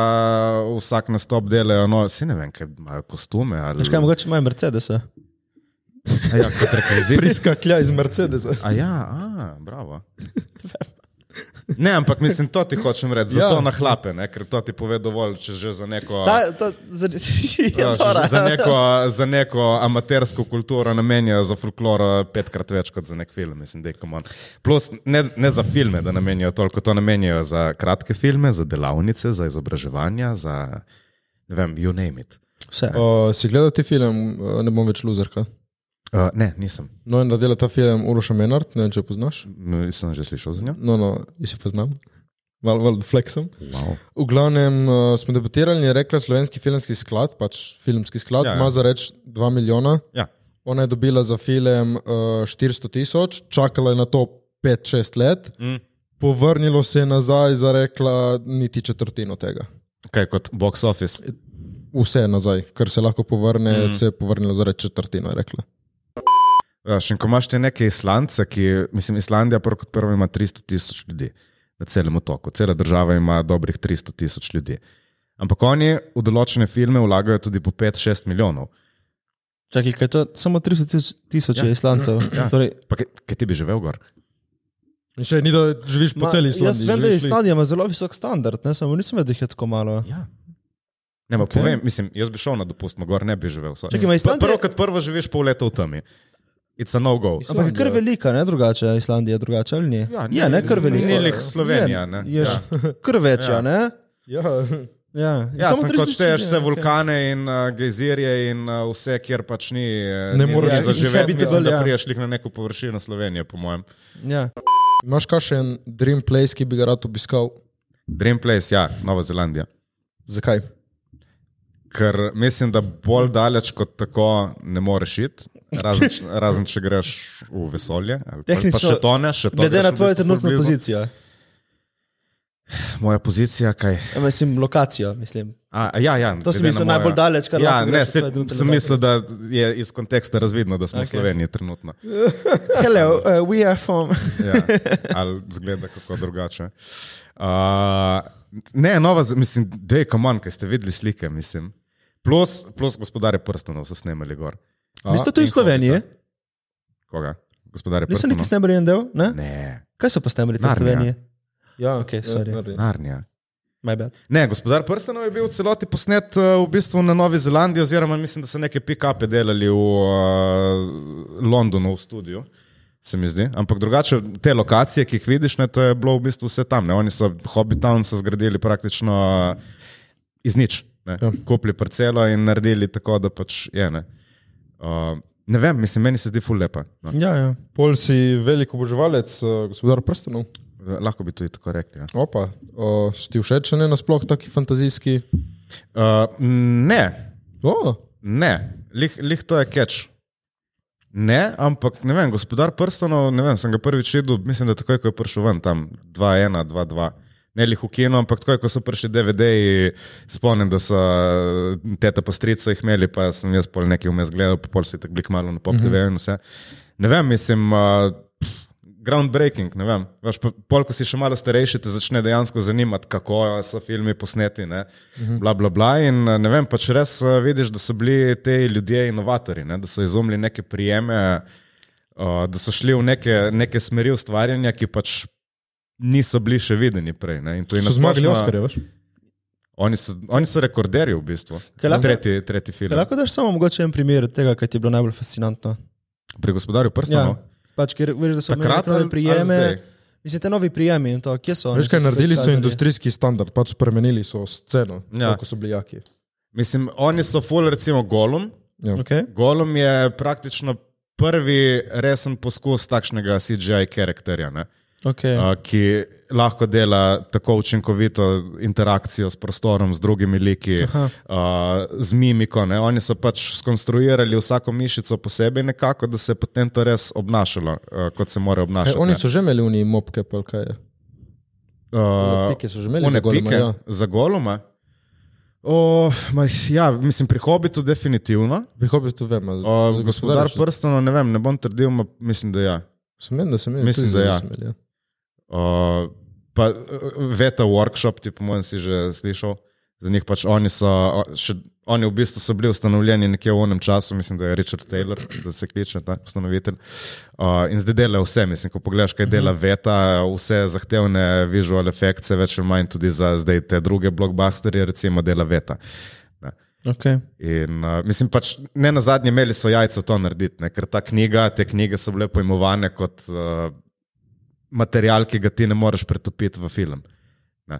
Speaker 1: vsak nastop delajo, no, si ne vem, kaj imajo kostume ali
Speaker 2: Veš kaj, mogoče imajo Mercedesa.
Speaker 1: A Ja, kot rekvizit.
Speaker 4: Priskaklja iz Mercedesa.
Speaker 1: A ja, a, bravo. Ne, ampak mislim, to ti hočem reči, zato
Speaker 4: Ja.
Speaker 1: ja. nahlape, ne, ker to ti pove dovolj, če že za neko...
Speaker 2: Ta, ta, za,
Speaker 1: Ja,
Speaker 2: ja,
Speaker 1: že za, neko, za neko amatersko kulturo namenijo za folkloro petkrat več kot za nek film. Mislim, daj, come on. Plus, ne, ne za filme, da namenijo toliko, to namenijo za kratke filme, za delavnice, za izobraževanja, za ne vem, you name it.
Speaker 2: Vse.
Speaker 4: Uh, si gledal ti film, uh, ne bom več luzerka.
Speaker 1: Uh, ne, nisem.
Speaker 4: No, in da dela ta film Uroša Menard, ne vem, če jo poznaš.
Speaker 1: M, Sem že slišal za njo.
Speaker 4: No, no, jaz jo poznam. Malo val, flexom.
Speaker 1: Wow.
Speaker 4: V glavnem uh, smo debatirali in je rekla, slovenski filmski sklad, pač filmski sklad,
Speaker 1: Ja,
Speaker 4: ja,
Speaker 1: ja.
Speaker 4: ima ja. za reč 2 milijona.
Speaker 1: Ja.
Speaker 4: Ona je dobila za film uh, 400 tisoč, čakala je na to 5-6 let,
Speaker 1: Mm.
Speaker 4: povrnilo se je nazaj za rekla niti četrtino tega.
Speaker 1: Kaj kot box office?
Speaker 4: Vse je nazaj, kar se lahko povrne, mm. se je povrnilo za reč četrtino, je rekla.
Speaker 1: Ja, še ko imaš te neke Islandce, ki, mislim, Islandija prvo kot prvo ima 300 tisoč ljudi na celem otoku, cela država ima dobrih 300 tisoč ljudi. Ampak oni v določene filme vlagajo tudi po 5-6 milijonov.
Speaker 2: Čakaj, kaj je to? Samo 300 tisoč, tisoč ja. islancev. Ja. Torej,
Speaker 1: Pa kaj, kaj ti bi živel gor?
Speaker 4: In še ni, da živiš po
Speaker 2: ma,
Speaker 4: celi
Speaker 2: jaz
Speaker 4: Sloveniji.
Speaker 2: vem, da je
Speaker 4: živiš li-
Speaker 2: Islandija ima zelo visok standard, ne, samo nisem vedel, da jih je tako malo.
Speaker 1: Ja. Ne, okay.
Speaker 2: Okej.
Speaker 1: povem, mislim, jaz bi šel na dopust, ma gor ne bi živel. Sorry.
Speaker 2: Čakaj, ima Islandija-
Speaker 1: Prvo kot prvo živiš pol leta v temi. It's a no-go.
Speaker 2: Ampak je kar
Speaker 4: Islandija.
Speaker 2: velika, ne drugače, Islandija je drugače ali ni?
Speaker 1: Ja, ni-
Speaker 2: ja ne, kar velika.
Speaker 1: ni lih Slovenija, ne.
Speaker 2: Je, je ja. Kar večja, ja. ne?
Speaker 4: Ja.
Speaker 2: Ja,
Speaker 1: Ja, sem, ko
Speaker 2: 300
Speaker 1: šteješ vse
Speaker 2: ljudi, ja, okej.
Speaker 1: vulkane okay. in uh, gejzirje in uh, vse, kjer pač ni, eh,
Speaker 4: Ne
Speaker 1: ni-
Speaker 4: moreš
Speaker 1: ni
Speaker 4: biti
Speaker 1: zaživeti,
Speaker 2: habitable,
Speaker 1: mislim, da
Speaker 2: ja.
Speaker 1: priješ lih na neko površino Slovenije, po mojem.
Speaker 2: Ja.
Speaker 4: Imaš kakšen dream place, ki bi ga rad obiskal?
Speaker 1: Dream Place, ja, Nova Zelandija.
Speaker 4: Zakaj?
Speaker 1: Ker mislim, da bolj daleč kot tako ne moreš iti, razen, če- razen če greš v vesolje. ali pa-
Speaker 2: Tehnično,
Speaker 1: pa še to ne, še to. greš
Speaker 2: Glede na
Speaker 1: v
Speaker 2: tvojo
Speaker 1: bistvu ful
Speaker 2: trenutno
Speaker 1: blizu.
Speaker 2: pozicijo,
Speaker 1: Moja pozicija, kaj?
Speaker 2: Ja, mislim, lokacijo, mislim.
Speaker 1: A, a ja, ja,
Speaker 2: To sem
Speaker 1: glede
Speaker 2: mislil
Speaker 1: na
Speaker 2: najbolj daleč, kar
Speaker 1: ja,
Speaker 2: lahko
Speaker 1: ne,
Speaker 2: greš v
Speaker 1: se,
Speaker 2: svoji trenutni
Speaker 1: sem
Speaker 2: lokaciji.
Speaker 1: mislil, da je iz konteksta razvidno, da smo okay. v
Speaker 2: Okej.
Speaker 1: Sloveniji trenutno.
Speaker 4: Hello, uh, we are from.
Speaker 1: Ja, ali zgleda kako drugače. Uh, ne, nova, z- mislim, da je kamen, ki ste videli slike, mislim. Plus, plus gospodare prstanov so snemali gor.
Speaker 2: Niste tu
Speaker 1: in
Speaker 2: v Sloveniji?
Speaker 1: Koga? Gospodare
Speaker 2: Niste
Speaker 1: prstanov.
Speaker 2: neki snemali en del? Ne?
Speaker 1: Ne,
Speaker 2: Kaj so pa snemali tu v
Speaker 1: Narnia.
Speaker 2: Sloveniji?
Speaker 4: Ja,
Speaker 2: okej, sorry.
Speaker 1: Narnija.
Speaker 2: My bad.
Speaker 1: Ne, gospodar prstanov je bil v celoti posnet eh, v bistvu na Novi Zelandiji, oziroma mislim, da so neke pick-upe delali v uh, Londonu v studiu. Se mi zdi. Ampak drugače, te lokacije, ki jih vidiš, ne, to je bilo v bistvu vse tam. Ne. Oni so Hobbitown so zgradili praktično eh, iz nič. Ne. Kupili parcelo in naredili tako, da pač je. Ne, uh, ne vem, mislim, meni se zdi ful lepa. No.
Speaker 4: Ja, ja. Pol si velik oboževalec, uh, gospodar prstanov.
Speaker 1: Lahko bi tudi tako rekli. Ja.
Speaker 4: Opa, uh, si ti všeč, ne nasploh taki fantazijski?
Speaker 1: Uh, ne,
Speaker 4: Oh,
Speaker 1: Ne, lih, lih to je keč. Ne, ampak ne vem, gospodar prstanov, ne vem, sem ga prvič videl, mislim, da takoj, ko je prišel ven tam 2-1, 2-2. Ne lih v kinu, ampak takoj, ko so prišli DVD-ji, spomnim, da so teta pa strica jih imeli, pa sem jaz pol nekaj vmes gledal, pa pol si tako blik malo na pop TV in vse. Ne vem, mislim, uh, groundbreaking, ne vem. Veš, po- pol, ko si še malo starejši, te začne dejansko zanimati, kako so filmi posneti. Ne?
Speaker 2: Mhm.
Speaker 1: Bla, bla, bla. In eh, ne vem, pač res eh, vidiš, da so bili ti ljudje inovatori, ne? da so izumili neke prijeme, uh, da so šli v neke, neke smeri ustvarjanja, ki pač niso bili še videni prej. Ne? In to je
Speaker 4: so
Speaker 1: nasplošno-
Speaker 4: zmagali Oskarje, veš?
Speaker 1: Oni so, oni so rekorderji v bistvu.
Speaker 2: Kaj lahko-
Speaker 1: Tretji, tretji film.
Speaker 2: Kaj lahko daš samo mogoče en primer tega, kar ti je bilo najbolj fascinantno?
Speaker 1: Pri gospodarju prstov. no.
Speaker 2: Pač, ker veš, da so imeli
Speaker 1: Takrat
Speaker 2: neke
Speaker 1: ali-
Speaker 2: nove
Speaker 1: ali zdaj?
Speaker 2: prijeme. Mislim, te novi prijemi in to, kje so?
Speaker 4: Veš
Speaker 2: oni
Speaker 4: kaj,
Speaker 2: so
Speaker 4: naredili so
Speaker 2: izkazali?
Speaker 4: industrijski standard, pač spremenili so sceno,
Speaker 1: Ja.
Speaker 4: ja. ko so bili jaki.
Speaker 1: Mislim, oni so full, recimo, golum.
Speaker 4: Ja.
Speaker 2: Okay.
Speaker 1: Golem je praktično prvi resen poskus takšnega CGI karakterja, ne,
Speaker 2: Okay.
Speaker 4: Ja.
Speaker 1: a, ki lahko dela tako učinkovito interakcijo s prostorom, z drugimi liki, a, z mimiko. Ne. Oni so pač skonstruirali vsako mišico posebej nekako, da se je potem to res obnašalo, a, kot se mora
Speaker 4: Kaj,
Speaker 1: obnašati.
Speaker 4: oni
Speaker 1: ne.
Speaker 4: so že imeli unije mopke, pa kaj je.
Speaker 1: A,
Speaker 4: Pike so že imeli,
Speaker 1: One
Speaker 4: za Golema,
Speaker 1: pike
Speaker 4: ja.
Speaker 1: za goloma. O, ma, ja, mislim, pri hobitu definitivno.
Speaker 4: Prihobi tu vemo.
Speaker 1: O, gospodar prstano, ne vem, ne bom trdil, ma, mislim, da ja.
Speaker 4: Sem meni, da sem imel.
Speaker 1: Mislim,
Speaker 4: tudi
Speaker 1: da ja.
Speaker 4: so Imeli, ja.
Speaker 1: Uh, pa uh, Veta Workshop, ti po mojem si že slišal, za njih pač oni so, o- še, oni v bistvu so bili ustanovljeni nekje v onem času, mislim, da je Richard Taylor, da se kliče ta ustanovitelj. Uh, in zdaj dela vse, mislim, ko pogledaš, kaj dela Veta, vse zahtevne visual efekte, več ali manj tudi za zdaj te druge blockbusterje, recimo dela Veta. Ne.
Speaker 2: Okay.
Speaker 1: In, uh, mislim, pač ne na zadnje, imeli so jajca to narediti, ne? ker ta knjiga, te knjige so bile pojmovane kot uh, material, ki ga ti ne moreš pretopiti v film. Ne?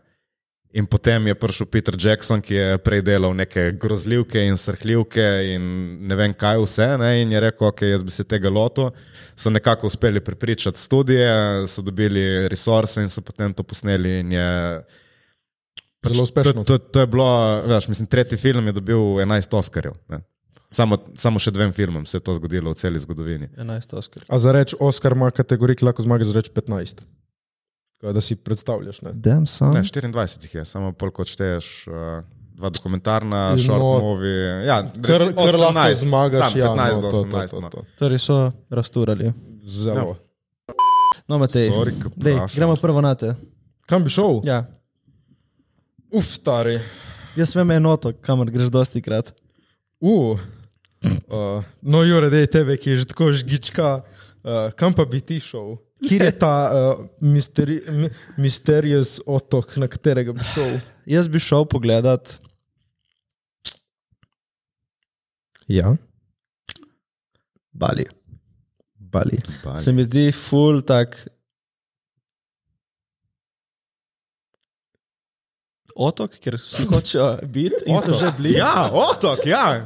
Speaker 1: In potem je prišel Peter Jackson, ki je prej delal neke grozljivke in srhljivke in ne vem kaj vse, ne? in je rekel, ok, jaz bi se tega lotil. So nekako uspeli prepričati studije, so dobili resurse in so potem to posneli in je. pač
Speaker 4: Zelo uspešno.
Speaker 1: To, to, to je bilo, veš, mislim, tretji film je dobil 11 Oscarjev. Ne? Samo, samo še dvem filmom se je to zgodilo v celi zgodovini.
Speaker 2: 11 Oscar.
Speaker 4: A za reč Oskar ima kategorij, ki lahko zmagaš za reč 15. Kaj, da si predstavljaš. Ne?
Speaker 2: Damn, son.
Speaker 1: Ne, 24 jih je, samo pol kot šteješ. Uh, Dva dokumentarna,
Speaker 4: No,
Speaker 1: short movie. Ja,
Speaker 4: Kar,
Speaker 1: reci-
Speaker 4: kar lahko
Speaker 1: 18,
Speaker 4: zmagaš,
Speaker 1: tam,
Speaker 4: ja,
Speaker 1: 15
Speaker 4: no,
Speaker 1: do
Speaker 4: to,
Speaker 1: 18.
Speaker 4: To, to, to, to.
Speaker 2: Torej so rasturali.
Speaker 4: Zelo. Ja.
Speaker 2: No, Matej,
Speaker 1: Sorry, ke
Speaker 2: dej,
Speaker 1: vprašam.
Speaker 2: gremo prvo na te.
Speaker 4: Kam bi šel? Ja.
Speaker 2: Ja.
Speaker 4: Uf, stari.
Speaker 2: Jaz vem enoto, kamor greš dosti krat.
Speaker 4: Uh. Uh, no, Jure, da je tebe, ki je že tako žgička, uh, kam pa bi ti šel? Kje je ta uh, misteri, mi, misterious otok, na katerega bi šel?
Speaker 2: Jaz bi šel pogledat
Speaker 4: Ja.
Speaker 2: Bali. Bali.
Speaker 1: Bali.
Speaker 2: Se mi zdi full tak. Otok, kjer vsi hočejo biti in so že bili.
Speaker 1: Ja, otok, ja.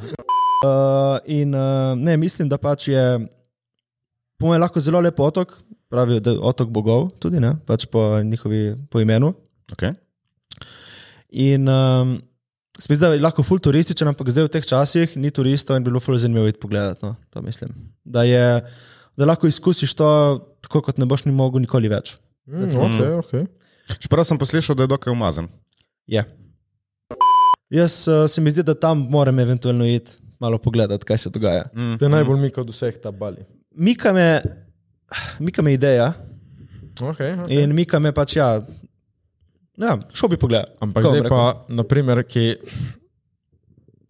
Speaker 2: Uh, in uh, ne, mislim, da pač je, po mojem, lahko zelo lep otok, pravijo, da je otok bogov, tudi ne, pač po njihovi po imenu.
Speaker 1: Okay.
Speaker 2: In um, Spet zdaj je lahko ful turističen, ampak zdaj v teh časih ni turistov in bilo ful zanimivo iti pogledati. No, to mislim. Da, je, da lahko izkusiš to tako, kot ne boš ni mogel nikoli več.
Speaker 4: Mm, okay, okay.
Speaker 1: Čeprav sem poslušal, da je dokaj umazan.
Speaker 2: Je. Jaz uh, se mi zdi, da tam moram eventualno iti malo pogledati, kaj se dogaja.
Speaker 1: Mm.
Speaker 4: Te najbolj mika od vseh ta bali.
Speaker 2: Mika me, mika me ideja
Speaker 4: Okay, okay.
Speaker 2: in mika me pač ja. Ja, šel bi pogledal.
Speaker 4: Ampak zdaj pa, naprimer, ki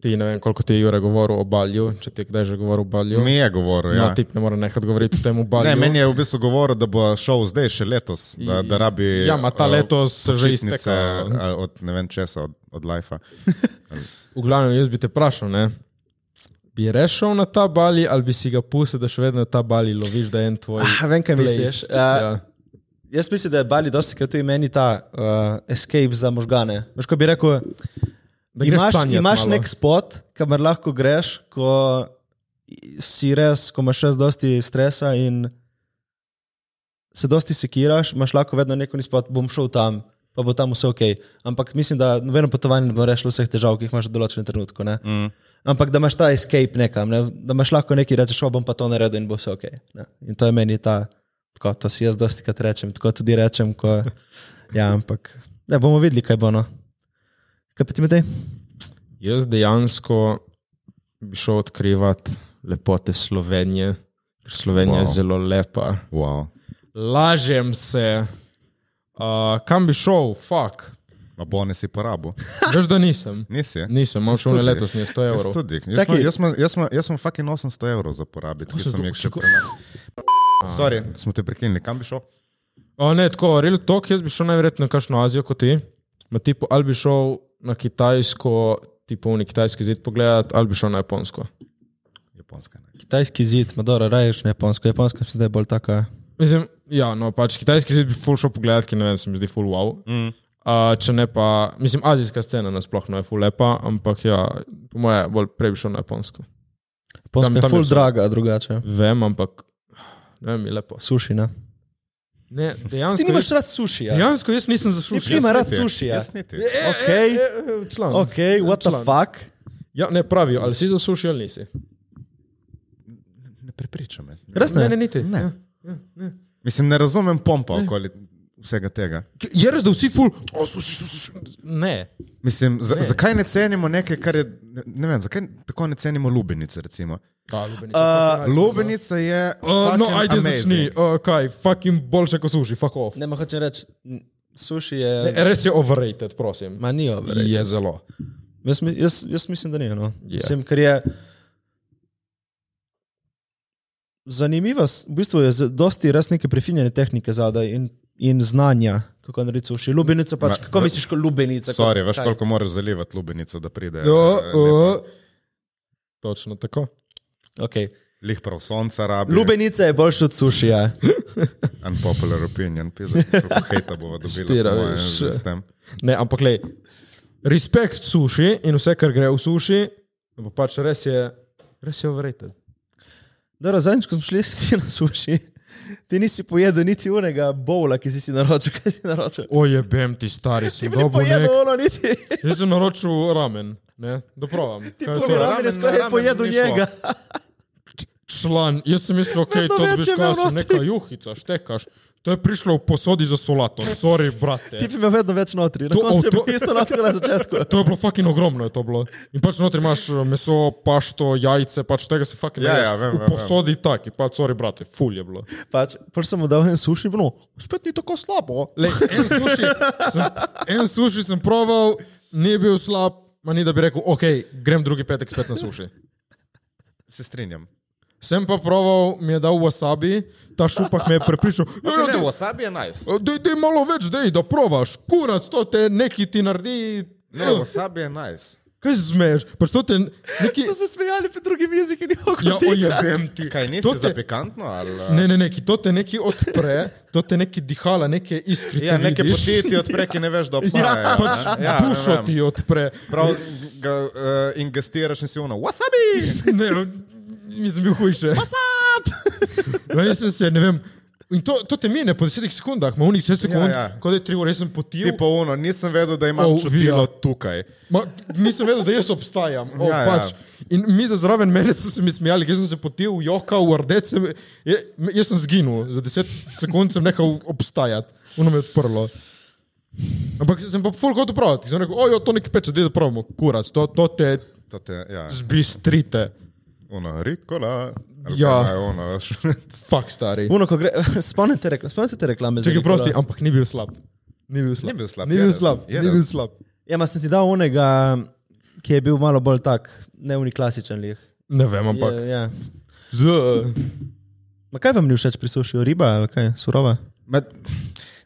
Speaker 4: ti ne vem, koliko ti je Jure govoril o balju, če ti je kdaj že govoril o balju.
Speaker 1: Mi je govoril.
Speaker 4: ja.
Speaker 1: Ja.
Speaker 4: no, tip ne more nehati govoriti o tem o balju.
Speaker 1: Ne, meni je v bistvu govoril, da bo šel zdaj še letos, da, da rabi.
Speaker 4: Ja, ma ta
Speaker 1: eh,
Speaker 4: letos se že
Speaker 1: počitnice,
Speaker 4: izteka.
Speaker 1: eh, Od ne vem česa, od, od Life.
Speaker 4: V glavnem, jaz bi te vprašal, ne? bi rešil na ta bali ali bi si ga pustil, da še vedno ta bali loviš, da je en tvoj.
Speaker 2: Ah, vem, kaj
Speaker 4: place?
Speaker 2: misliš.
Speaker 1: Eh,
Speaker 2: Uh,
Speaker 4: Ja.
Speaker 2: Jaz mislim, da je Bali dosti krat tudi meni ta uh, escape za možgane. Veš, ko bi rekel,
Speaker 4: Da greš
Speaker 2: imaš,
Speaker 4: sanjat
Speaker 2: imaš
Speaker 4: malo.
Speaker 2: nek spot, kamor lahko greš, ko si res, ko imaš res dosti stresa in se dosti sekiraš, imaš lahko vedno neko spot, bom šel tam, pa bo tam vse ok. Ampak mislim, da nobeno potovanje ne bo rešilo vseh težav, ki jih imaš v določenem trenutku. Ne?
Speaker 1: Mm.
Speaker 2: Ampak da imaš ta escape nekam, ne? da imaš lahko neki rečeš, "O, bom pa to naredil in bo vse ok. Ne? In to je meni ta, tako, to si jaz dosti krat rečem, tako tudi rečem, ko, ja, ampak ne, bomo videli, kaj bo. No. Kaj pa ti medej?
Speaker 4: Jaz dejansko bi šel odkrivati lepote Slovenije, ker Slovenija wow. je
Speaker 1: Wow.
Speaker 4: zelo lepa.
Speaker 1: Wow.
Speaker 4: Lažem se. Uh, kam bi šel, fuk.
Speaker 1: Ma bone si porabo.
Speaker 4: Veš, da nisem.
Speaker 1: Nisi.
Speaker 4: Nisem, imam šel na
Speaker 1: Tudi.
Speaker 4: letos, ne 100
Speaker 1: Jaz
Speaker 4: evrov.
Speaker 1: tudi. Jaz
Speaker 2: Čakaj.
Speaker 1: sem- Jaz sem- jaz sem- jaz sem fucking 800 evrov za porabiti, ki sem jih še prenašal. Sorry, smo te prekinili, kam bi šel?
Speaker 4: O, ne, tako, real talk, jaz bi šel najverjetneje na kakšno Azijo kot ti. Ma, tipo, ali bi šel na Kitajsko, tipo v Kitajski zid pogledat, ali bi šel na Japonsko.
Speaker 1: Japonska. ne.
Speaker 2: Kitajski zid, Madora, raješ na japonsko. Japonska mislim, da je bolj taka.
Speaker 4: Mislim, ja, no, pač Kitajski zid bi full šel pogledat, ki ne vem, se mi zdi full wow.
Speaker 1: Mm.
Speaker 4: Uh, če ne pa, mislim, azijska scena nasplošno je full lepa, ampak ja, po moje, bolj prej bi šel na Japonsko.
Speaker 2: Japonska tam, tam je
Speaker 4: Tam- tam je
Speaker 2: ful
Speaker 4: vse.
Speaker 2: draga, drugače.
Speaker 4: Vem, ampak ne vem, je lepo.
Speaker 2: Suši, ne?
Speaker 4: Ne,
Speaker 2: Ti
Speaker 4: dejansko,
Speaker 2: nimaš
Speaker 4: jaz,
Speaker 2: rad suši, ja? E,
Speaker 4: dejansko jaz nisem
Speaker 2: Ti
Speaker 4: zaslužil.
Speaker 2: prima- Ima rad
Speaker 1: Jaz niti,
Speaker 4: ja.
Speaker 2: sušija.
Speaker 1: Jaz niti.
Speaker 2: Ok,
Speaker 4: Član.
Speaker 2: ok, what the
Speaker 4: Član.
Speaker 2: fuck?
Speaker 4: Ja, ne pravijo, ali si zaslužil ali nisi.
Speaker 1: Ne prepričam me.
Speaker 2: Res
Speaker 4: Ne, ne,
Speaker 2: ne?
Speaker 4: niti. Ne. Ja.
Speaker 1: Mislim, ne razumem pompa okoli vsega tega.
Speaker 4: Je res, da vsi ful. O, suši, suši, suši. Ne.
Speaker 1: Mislim, za,
Speaker 4: Ne.
Speaker 1: ne. zakaj ne cenimo nekaj, kar je, ne- ne vem, zakaj tako ne cenimo lubenice, recimo?
Speaker 4: Da, lubenica,
Speaker 1: Uh, lubenica je.
Speaker 4: uh, Eh, no,
Speaker 1: fucking
Speaker 4: ajde,
Speaker 1: amazing.
Speaker 4: začni. Uh, kaj, fucking boljše, ko suši, fuck off. Ne.
Speaker 2: Ne, ma hočem reči, n- suši je...
Speaker 4: Res je overrated, prosim.
Speaker 2: Ma ni overrated.
Speaker 4: Je zelo.
Speaker 2: Jaz, mi- jaz, jaz mislim, da ni. No.
Speaker 4: Ja.
Speaker 2: Mislim, ker je. Zanimiva, s- v bistvu je z- dosti res neke prefinjene tehnike zadaj in, in znanja, kako narediti suši. Lubenico pač,
Speaker 1: Ma,
Speaker 2: kako
Speaker 1: v-
Speaker 2: misliš, kot lubenica? kot
Speaker 1: Sorry, veš,
Speaker 2: kaj?
Speaker 1: koliko moraš zalivati lubenico, da pride.
Speaker 4: Ja,
Speaker 1: eh,
Speaker 4: uh,
Speaker 1: lepo.
Speaker 4: točno tako.
Speaker 2: Okay.
Speaker 1: Lih prav sonca rabi.
Speaker 2: Lubenica je boljša od suši. Ja.
Speaker 1: Unpopular opinion, pizda, koliko hejta bova dobila.
Speaker 4: Stira,
Speaker 1: po mojem,
Speaker 4: veš.
Speaker 1: že s tem.
Speaker 4: Ne, ampak le, respekt suši in vse, kar gre v suši, ampak pač res je, res je overrated.
Speaker 2: Dobro, Zadnjič, ko smo šli sedeti na suši, ti nisi pojedel niti unega bowla, ki si si naročil. Kaj si naročil?
Speaker 4: Ojebem ti stari, si
Speaker 2: Ti bi pojedel ono, niti.
Speaker 4: Jaz sem naročil ramen, ne, da provam. Ti
Speaker 2: Pol ramen je skoraj
Speaker 1: ramen
Speaker 2: pojedel
Speaker 1: ni šlo.
Speaker 2: njega.
Speaker 4: član, jaz sem mislil, ok, to
Speaker 2: več
Speaker 4: dobiš
Speaker 2: je imel
Speaker 4: kašo,
Speaker 2: notri.
Speaker 4: neka juhica, štekaš. To je prišlo v posodi za solato, sorry, brate.
Speaker 2: Ti bi imel vedno več notri. Na
Speaker 4: To
Speaker 2: koncu je
Speaker 4: avto-
Speaker 2: bilo isto notri kot na začetku.
Speaker 4: To je bilo fucking ogromno, je to bilo. In pač notri imaš eh, meso, pašto, jajce, pač tega se fucking
Speaker 1: Ja,
Speaker 4: ne.
Speaker 1: ja, vem,
Speaker 4: v
Speaker 1: vem, vem.
Speaker 4: posodi taki, pač sorry, brate, ful je bilo.
Speaker 2: Pač, prvo sem mu dal en suši, bilo, "No, spet ni tako slabo.
Speaker 4: Le, en, suši, sem, en suši sem proval, ni bil slab, ma ni da bi rekel, ok, grem drugi petek spet na suši.
Speaker 1: Se strinjam.
Speaker 4: Sem pa proval, mi je dal wasabi, ta šupak me je prepričal. "Ja, ja,
Speaker 1: Ne,
Speaker 4: daj-
Speaker 1: wasabi je najs.
Speaker 4: Dej, dej malo več, dej, da provaš, kurac, to te neki ti naredi.
Speaker 1: Ne, wasabi je najs.
Speaker 4: Kaj se zmeješ? Pač to te neki.
Speaker 2: So se smejali pri drugi jeziku, ni
Speaker 4: Ja,
Speaker 2: hočel.
Speaker 4: ojebem ti.
Speaker 1: Kaj nisi
Speaker 4: To
Speaker 1: to
Speaker 4: te-
Speaker 1: za pikantno? Ali, eh?
Speaker 4: Ne, ne, ne, ki to te neki odpre, to te neki dihala, neke iskrice.
Speaker 1: ja, neke
Speaker 4: vidiš.
Speaker 1: poti ti odpre, ki ne veš, da obstajajo.
Speaker 4: Ja, pač
Speaker 1: ne? Ja, ne
Speaker 4: dušo
Speaker 1: vem.
Speaker 4: ti odpre.
Speaker 1: Prav ga uh, ingestiraš in si ono, wasabi!
Speaker 4: Ne, mislim, bil hujše. What's up? No, jaz Ja, sem se, ne vem, In to, to te mine po desetih sekundah, ima unih deset sekund, ja,
Speaker 1: Ja,
Speaker 4: ja.
Speaker 1: ja.
Speaker 4: kot da je tri ure, jaz sem potil.
Speaker 1: Ti pa ono, nisem vedel, da imam
Speaker 4: Oh,
Speaker 1: oh, čutilo
Speaker 4: vija.
Speaker 1: tukaj.
Speaker 4: Ma, nisem vedel, da jaz obstajam. O, ja,
Speaker 1: Ja, ja.
Speaker 4: pač. ja. In mi za zraven mene so se mi smejali, ker sem se potil, jokal, urdet. Sem, je, jaz sem zginil, za 10 sekund sem nehal obstajati, uno me je odprlo. Ampak sem pa full hotel praviti, sem rekel, ojo, to nekaj peče, da je pravimo, kurac, to, to te
Speaker 1: To te, ja,
Speaker 4: zbistrite.
Speaker 1: ono, rikola. ali
Speaker 4: Ja.
Speaker 1: kaj je Ono, veš.
Speaker 4: Fak stari.
Speaker 2: Uno, ko gre, spomnite, rekla, spomnite te reklame. za
Speaker 4: Čekaj,
Speaker 2: Nikola?
Speaker 4: prosti, ampak ni bil slab. Ni bil slab.
Speaker 1: Ni bil slab,
Speaker 4: Ni bil
Speaker 1: jedel sem,
Speaker 4: slab. Ni
Speaker 1: jedel
Speaker 4: bil
Speaker 1: sem.
Speaker 4: slab.
Speaker 2: Ja, ma sem ti dal onega, ki je bil malo bolj tak, ne unik klasičen lih.
Speaker 4: Ne vem, ampak.
Speaker 2: Je, ja.
Speaker 4: Z,
Speaker 2: Ma kaj vam ni všeč pri suši, riba ali kaj, surova?
Speaker 1: Ma,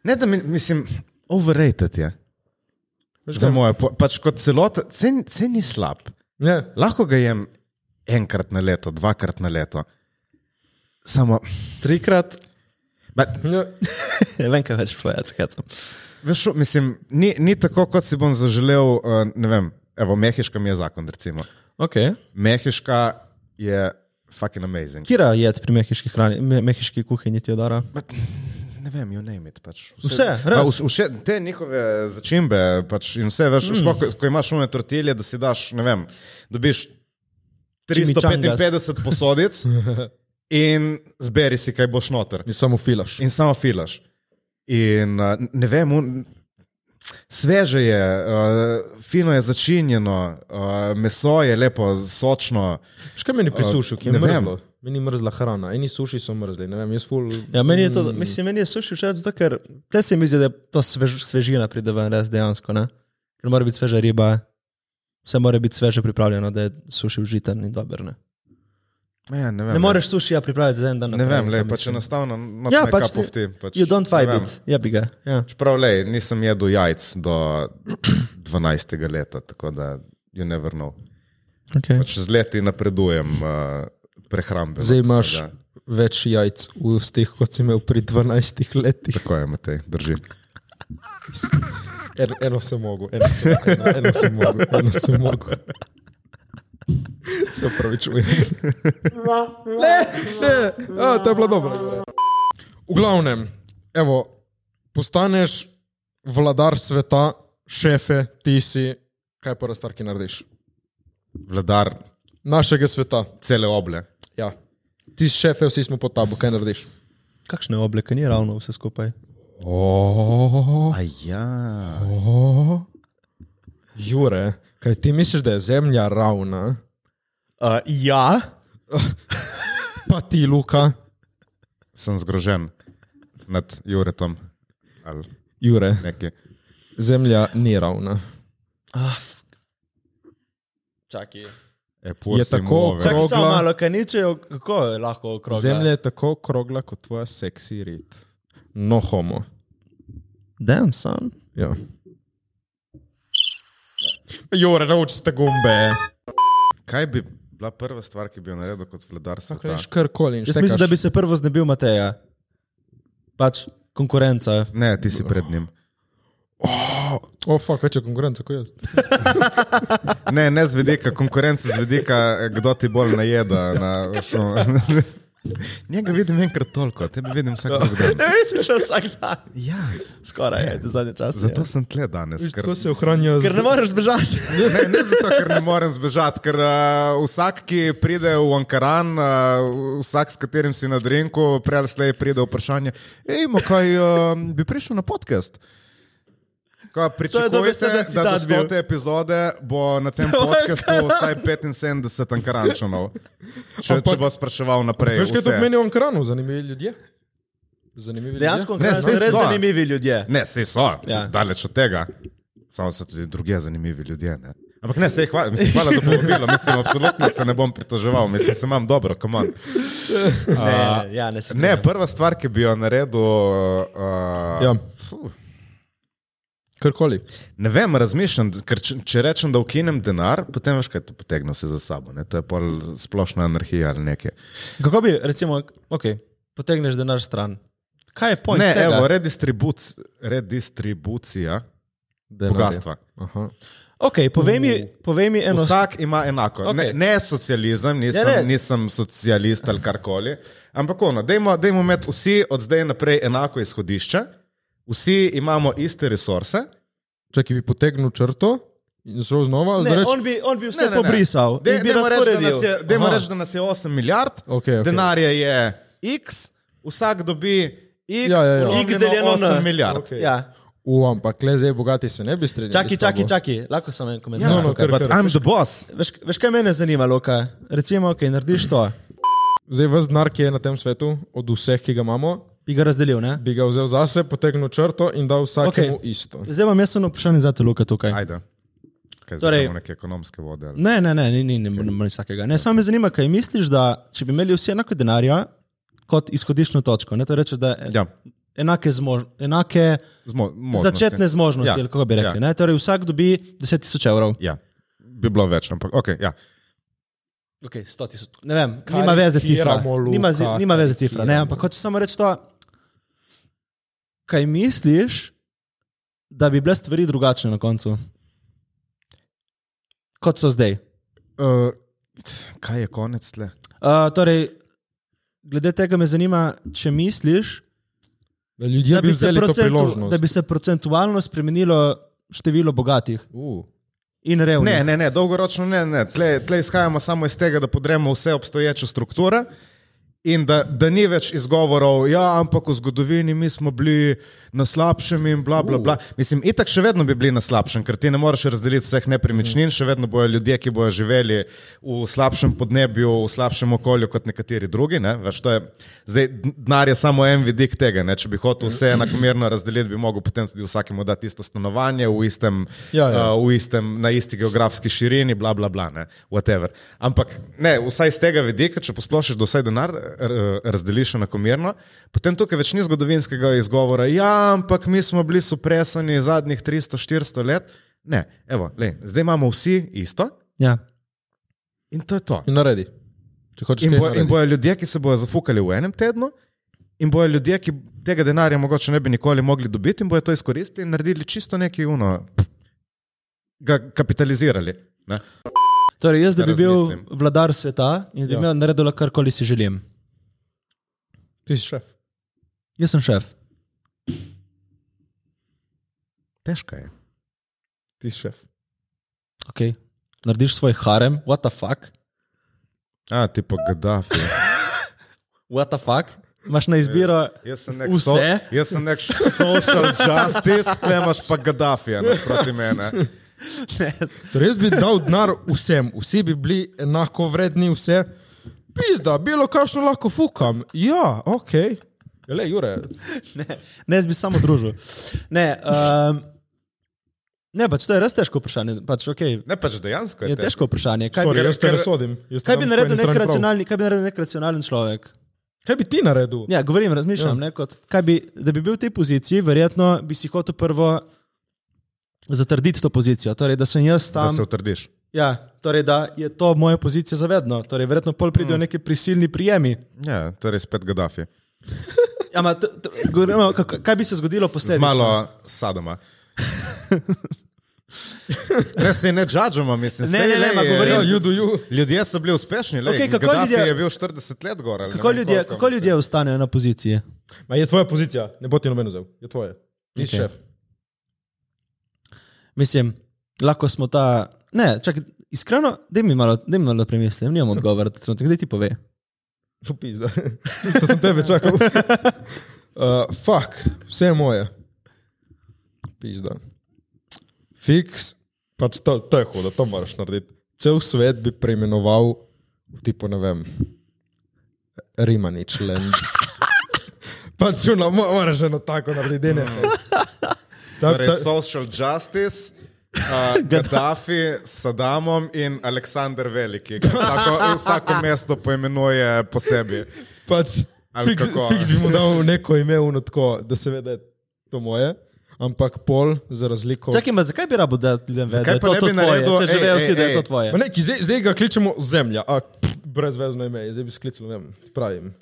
Speaker 1: ne, da mi, mislim, overrated je. Za moje, po- pač kot celota, cen ni slab.
Speaker 4: ne,
Speaker 1: Lahko ga jem enkrat na leto, dvakrat na leto. Samo trikrat. Ma,
Speaker 4: ne,
Speaker 2: Ne vem, kaj več povedati, hecam.
Speaker 1: veš, šo- mislim, ni, ni tako, kot si bom zaželel. eh, Ne vem, evo, mehiška mi je zakon. Recimo.
Speaker 2: Okay.
Speaker 1: Mehiška je fucking amazing.
Speaker 2: Kira je pri mehiški hrani, me, mehiški kuhinji ti odara?
Speaker 1: Ne vem, jo name it. Pač.
Speaker 2: Vse,
Speaker 1: Ma,
Speaker 2: res.
Speaker 1: vš- vše, te njihove začimbe pač, in vse, veš, mm. sploh, ko- ko imaš umne tortilje, da si daš, ne vem, dobiš
Speaker 2: Chimichangas.
Speaker 1: 355 posodic in zberi si, kaj boš noter.
Speaker 4: ne, samo filaš.
Speaker 1: In samo filaš. In uh, ne vem, un, sveže je, uh, fino je začinjeno, uh, meso je lepo, sočno.
Speaker 4: Škaj meni pri
Speaker 1: A,
Speaker 4: sušu, ki je
Speaker 1: ne vem.
Speaker 4: mrzlo? Meni je mrzla hrana, eni suši so mrzli, ne vem, jaz ful. Mm.
Speaker 2: Ja, meni je to,
Speaker 4: Hmm.
Speaker 2: mislim, meni je suši všeč, zato ker te se mi zdi, da je to svež, svežina pride ven, res dejansko, ne? Ker mora biti sveža riba, vse mora biti sveže pripravljeno, da je suši užiten in dober, ne?
Speaker 1: Ja, ne vem,
Speaker 2: Ne moreš sušija pripraviti za en dan.
Speaker 1: Ne
Speaker 2: naprej,
Speaker 1: vem, le,
Speaker 2: kaj
Speaker 1: pač
Speaker 2: mislim.
Speaker 1: enostavno not
Speaker 2: Ja,
Speaker 1: my
Speaker 2: pač
Speaker 1: cup of
Speaker 2: ti-
Speaker 1: tea, pač
Speaker 2: You don't
Speaker 1: ne
Speaker 2: vibe
Speaker 1: vem.
Speaker 2: it, ja bi ga. Ja.
Speaker 1: Čeprav le, nisem jedel jajc do 12. leta, tako da you never know.
Speaker 2: Okay.
Speaker 1: Pač z leti napredujem uh, prehrambe.
Speaker 4: Zdaj imaš več jajc v stih, kot si imel pri 12 letih.
Speaker 1: Tako je, Matej, drži.
Speaker 4: En, eno sem mogel, eno sem, eno, eno sem mogel, eno sem mogel. Se pravi, čujem. Ne, ne, a, to je bilo dobro. V glavnem, evo, postaneš vladar sveta, šefe, ti si, kaj pa restarki narediš?
Speaker 1: Vladar
Speaker 4: Našega sveta.
Speaker 1: cele oble.
Speaker 4: Ja. Ti si šefe, vsi smo pod tabo, kaj narediš?
Speaker 2: Kakšne obleke, ni ravno vse skupaj.
Speaker 1: Aja.
Speaker 2: ja.
Speaker 4: Jure, kaj ti misliš, da je zemlja ravna?
Speaker 2: Uh, ja,
Speaker 4: Pa ti, Luka,
Speaker 1: Sem zgrožen nad Juretom. Ali
Speaker 4: Jure,
Speaker 1: nekaj.
Speaker 4: zemlja ni ravna.
Speaker 2: Ah, čakaj.
Speaker 1: E, pur
Speaker 4: Je
Speaker 1: si
Speaker 4: tako,
Speaker 1: mu ove.
Speaker 4: čak-
Speaker 2: Čakaj, samo
Speaker 4: Okrogla.
Speaker 2: malo, kaj ničejo, kako je lahko okrogla?
Speaker 4: Zemlja je tako krogla kot tvoja seksi rit. No, homo.
Speaker 2: Damn, son.
Speaker 4: Ja. Jure, nauči se te gumbe.
Speaker 1: Kaj bi bila prva stvar, ki bi jo naredil kot vladar? sveta?
Speaker 4: Greš karkoli in
Speaker 2: Jaz
Speaker 4: štekaš.
Speaker 2: mislim, da bi se prvo znebil Mateja. Pač konkurenca.
Speaker 1: Ne, ti si pred njim.
Speaker 4: O, oh, fuck, več je konkurenca kot jaz.
Speaker 1: Ne, ne z vidika konkurence, z vidika, eh, kdo ti bolj najeda. Na, veš, ono. Njega vidim enkrat toliko, tebe vidim vsak drug dan.
Speaker 2: vidiš vsak dan.
Speaker 1: Ja,
Speaker 2: Skoraj je, zadnje čase.
Speaker 1: zato sem tle danes. Ker,
Speaker 4: Tako se ohranijo.
Speaker 2: Ker ne moreš bežati.
Speaker 1: ne, ne zato, ker ne morem zbežati, ker uh, vsak, ki pride v Ankaran, uh, vsak, s katerim si na drinku, prej ali slej pride vprašanje, ejmo, kaj uh, bi prišel na podcast. Ko
Speaker 2: dobesedno
Speaker 1: pričakujete, da
Speaker 2: citat
Speaker 1: do
Speaker 2: bil.
Speaker 1: 100. epizode bo na tem
Speaker 2: Celo
Speaker 1: podkastu vsaj 75 ankarančanov, če, če
Speaker 4: Ampak-
Speaker 1: bo spraševal naprej.
Speaker 4: Veš, kaj to
Speaker 1: vse.
Speaker 4: pomeni v Ankaranu? Zanimivi ljudje. Zanimivi
Speaker 2: Dejansko
Speaker 4: ljudje.
Speaker 1: Ne,
Speaker 2: Ankaran so
Speaker 1: saj
Speaker 2: res
Speaker 1: so.
Speaker 2: zanimivi ljudje.
Speaker 1: Ne, sej so,
Speaker 2: Ja.
Speaker 1: ja. daleč od tega. Samo so tudi druge zanimivi ljudje. Ne? Ampak ne, sej hvala, mislim, hvala za povabilo, mislim, absolutno se ne bom pritoževal, mislim, se imam dobro, kam on.
Speaker 2: Ne, ja, ne, se
Speaker 1: Ne, prva stvar, ki bi jo naredil, uh,
Speaker 4: Ja. Karkoli.
Speaker 1: ne vem, razmišljam, ker če, če rečem, da ukinem denar, potem veš, kaj to potegne vse za sabo, ne? to je pol splošna anarhija ali nekaj.
Speaker 2: Kako bi, recimo, ok, potegneš denar stran. Kaj je point?
Speaker 1: ne,
Speaker 2: tega?
Speaker 1: evo, redistribuc, redistribucija
Speaker 4: Denarje.
Speaker 1: bogatstva.
Speaker 4: Aha.
Speaker 2: ok, Okay, povej, mi, povej mi eno stvar.
Speaker 1: Vsak ima enako. Okay. Ne,
Speaker 2: Okej.
Speaker 1: ne socializem, nisem,
Speaker 2: Ja,
Speaker 1: ja,
Speaker 2: ne.
Speaker 1: nisem socialist ali karkoli. Ampak ono, dajmo, dajmo imeti vsi od zdaj naprej enako izhodišče, vsi imamo iste resurse.
Speaker 4: Če ki bi potegnil črto in šel znova, ali
Speaker 2: Ne,
Speaker 4: zareč,
Speaker 2: on, bi, on bi vse ne, ne, pobrisal. Ne, ne.
Speaker 1: Dajmo
Speaker 2: Bi
Speaker 1: reči, da nas
Speaker 2: razporedil.
Speaker 1: je- dajmo
Speaker 4: Aha.
Speaker 1: reči, da nas je 8 milijard,
Speaker 4: Okej, okej.
Speaker 1: denarja je x, vsak dobi x,
Speaker 4: Ja, ja, ja.
Speaker 1: polovnjeno
Speaker 2: X deljeno na-
Speaker 1: 8 milijard.
Speaker 4: Okej.
Speaker 2: Ja.
Speaker 4: U, ampak le zdaj bogati se ne bi strinjali.
Speaker 2: Čakaj,
Speaker 4: s tabo.
Speaker 2: čakaj, čakaj, lahko samo en komentar.
Speaker 1: Ja,
Speaker 4: No,
Speaker 1: no,
Speaker 4: no,
Speaker 1: no,
Speaker 4: kar,
Speaker 1: kar,
Speaker 4: kar.
Speaker 1: kar. I'm the boss.
Speaker 2: Veš, veš, kaj mene zanima, Luka? Recimo, ok, narediš to,
Speaker 4: Zdaj, vse denar, ki je na tem svetu, od vseh, ki ga imamo,
Speaker 2: bi ga razdelil, ne?
Speaker 4: bi ga vzel zase, potegnil črto in dal vsakemu
Speaker 2: Okej. Eh,
Speaker 4: okay. isto.
Speaker 2: Zdaj imam jaz eno vprašanje za te, Luka, tukaj.
Speaker 1: Ajde. Kaj
Speaker 2: Torej-
Speaker 1: torej, neke ekonomske vode. ali-
Speaker 2: Ne, ne, ne, ni, ni, ni, ni, ni vsakega. Ne, samo me zanima, kaj misliš, da če bi imeli vsi enako denarja kot izhodiščno točko, ne, to rečeš, da ja.
Speaker 1: Ja,
Speaker 2: enake, zmož, enake
Speaker 1: zmo, možnosti.
Speaker 2: začetne zmožnosti, ja. ali kako bi rekli.
Speaker 1: Ja.
Speaker 2: Ja. Torej vsak dobi 10 tisoč evrov.
Speaker 1: ja, bi bilo več, ampak okay, ja.
Speaker 2: Okay, 100 tisoč. Ne vem, nima veze cifra.
Speaker 4: Karikiramo, Luka,
Speaker 2: Nima, zi- nima veze cifra, ne,
Speaker 4: karikiramo.
Speaker 2: ampak hoče samo reči to, kaj misliš, da bi bile stvari drugačne na koncu, kot so zdaj.
Speaker 4: Eh,
Speaker 1: Uh, kaj je konec tle?
Speaker 2: Uh, torej, glede tega me zanima, če misliš,
Speaker 4: Da ljudje
Speaker 2: da
Speaker 4: bi
Speaker 2: bi, se
Speaker 4: vzeli to
Speaker 2: procentu-
Speaker 4: priložnost.
Speaker 2: da bi se procentualno spremenilo število bogatih
Speaker 4: Uh,
Speaker 2: in revnih.
Speaker 1: Ne, ne, ne, dolgoročno ne. ne. Tle, tle izhajamo samo iz tega, da podremo vse obstoječe strukture in da, da ni več izgovorov, ja, ampak v zgodovini mi smo bili na slabšem in bla, bla, bla. Mislim, itak še vedno bi bili na slabšem, ker ti ne moreš razdeliti vseh nepremičnin, še vedno bojo ljudje, ki bojo živeli v slabšem podnebju, v slabšem okolju kot nekateri drugi. Ne? Veš, to je, zdaj, denar je samo en vidik tega. Ne? Če bi hotel vse enakomerno razdeliti, bi mogel potem tudi vsakemu dati isto stanovanje v istem
Speaker 4: Ja, ja.
Speaker 1: uh, v istem, na isti geografski širini, bla, bla, bla, ne, whatever. Ampak ne, vsaj z tega vidika, če posplošiš do vsaj denar, r- razdeliš enakomerno, potem tukaj več ni zgodovinskega izgovora, ja, ampak mi smo bili supresani zadnjih 300-400 let. Ne, evo, lej, zdaj imamo vsi isto
Speaker 2: Ja.
Speaker 1: in to je to.
Speaker 4: in naredi. Če hočeš,
Speaker 1: In,
Speaker 4: kaj
Speaker 1: bo, in
Speaker 4: naredi.
Speaker 1: bojo ljudje, ki se bojo zafukali v enem tednu, in bojo ljudje, ki tega denarja mogoče ne bi nikoli mogli dobiti, in bojo to izkoristili in naredili čisto nekaj uno, pff, ga kapitalizirali. Ne?
Speaker 2: Torej, jaz, da bi bil
Speaker 1: Razmislim.
Speaker 2: vladar sveta in da bi ja.
Speaker 4: Ja.
Speaker 2: imel naredila karkoli si želim.
Speaker 4: Ti si šef.
Speaker 2: Jaz sem šef.
Speaker 1: Težko je.
Speaker 4: Ti si šef.
Speaker 2: Okay. Narediš svoj harem, what the fuck,
Speaker 1: A, ti pa Gaddafi.
Speaker 2: what the fuck. Imaš na izbiro,
Speaker 1: Jaz sem
Speaker 2: nek so- Vse?
Speaker 1: jaz sem nek social justice, tle imaš pa Gaddafija nasproti mene.
Speaker 4: Torej, jaz bi dal denar vsem, vsi bi bili enako vredni, vse. Pizda, bilo kakšno lahko fukam. Ja, ok. Le, Jure,
Speaker 2: ne, jaz bi samo družil. Ne, um, ne, pač to je res težko vprašanje. Pač, okay,
Speaker 1: Ne, pač dejansko
Speaker 2: je težko vprašanje. Kaj
Speaker 4: sorry,
Speaker 2: bi,
Speaker 4: jaz te
Speaker 1: ker-
Speaker 4: ne sodim. Jaz te
Speaker 2: kaj
Speaker 4: dam
Speaker 2: bi
Speaker 4: po
Speaker 2: naredil
Speaker 4: eni
Speaker 2: nek
Speaker 4: strani prav.
Speaker 2: racionalen, kaj bi naredil nek racionalen človek?
Speaker 4: Kaj bi ti naredil?
Speaker 2: Ja, govorim, razmišljam. Ja. Ne, kot, kaj bi, da bi bil v tej poziciji, verjetno bi si hotel prvo zatrditi to pozicijo. Torej, da sem jaz
Speaker 1: Da
Speaker 2: tam.
Speaker 1: se utrdiš.
Speaker 2: Ja, torej, da je to moja pozicija zavedno. Torej, verjetno pol pridejo mm. neki prisilni prijemi.
Speaker 1: Ja, torej spet Gaddafi.
Speaker 2: Ja, ma, t, t, govorimo, kako- kaj bi se zgodilo
Speaker 1: Z
Speaker 2: posledično?
Speaker 1: malo sadoma. Ne, se ne džadžamo, mislim.
Speaker 2: Ne,
Speaker 1: saj,
Speaker 2: ne, ne,
Speaker 1: lej,
Speaker 2: ma govorim-
Speaker 1: lej,
Speaker 4: You do you.
Speaker 1: Ljudje so bili uspešni, le
Speaker 2: Okej,
Speaker 1: okay,
Speaker 2: kako
Speaker 1: Gaddafi
Speaker 2: ljudje-
Speaker 1: je bil 40 let gor. ali ne
Speaker 2: Kako
Speaker 1: vem
Speaker 2: ljudje,
Speaker 1: koliko,
Speaker 2: kako
Speaker 1: mislim.
Speaker 2: ljudje ostanejo na poziciji?
Speaker 4: Ma je tvoja pozicija, ne bo ti noben vzel. Je tvoje. Ti okay.
Speaker 2: Okej.
Speaker 4: šef.
Speaker 2: Mislim, lahko smo ta. Ne, čak, iskreno, da mi malo, daj mi malo da premislim, nimam odgovora, ta trenutek, kdaj ti pove.
Speaker 4: To pizda. Isto sem tebe čakal. uh, fuck, vse je moje. Pizda. Fiks, pač to, to je hudo, to moraš narediti. Cel svet bi preimenoval v tipo, ne vem, Rimanič Lend. pač čuno, moraš eno tako narediti, ne. Ta,
Speaker 1: Torej,
Speaker 4: ta,
Speaker 1: social justice. Uh, Gaddafi s Sadamom in Aleksandr Veliki, ki vsako, vsako mesto poimenuje po sebi.
Speaker 4: pač,
Speaker 1: Ali
Speaker 4: fiks,
Speaker 1: kako?
Speaker 4: fiks bi mu dal neko ime, uno tako, da se ve, da je to moje, ampak pol, za razliko od
Speaker 2: Čakaj, ma zakaj bi rabo, da ljudem vedo, da
Speaker 1: Zakaj
Speaker 2: je
Speaker 1: pa
Speaker 2: to,
Speaker 1: ne
Speaker 2: to
Speaker 1: bi
Speaker 2: tvoje?
Speaker 1: naredil-
Speaker 2: Če že
Speaker 1: ej,
Speaker 2: vejo
Speaker 1: ej,
Speaker 2: vsi, da je to
Speaker 1: ej.
Speaker 2: tvoje.
Speaker 4: Ma Ne, ki zdaj, zdaj ga kličemo zemlja, a pff, brezvezno ime, je, zdaj bi sklical, ne vem, pravim.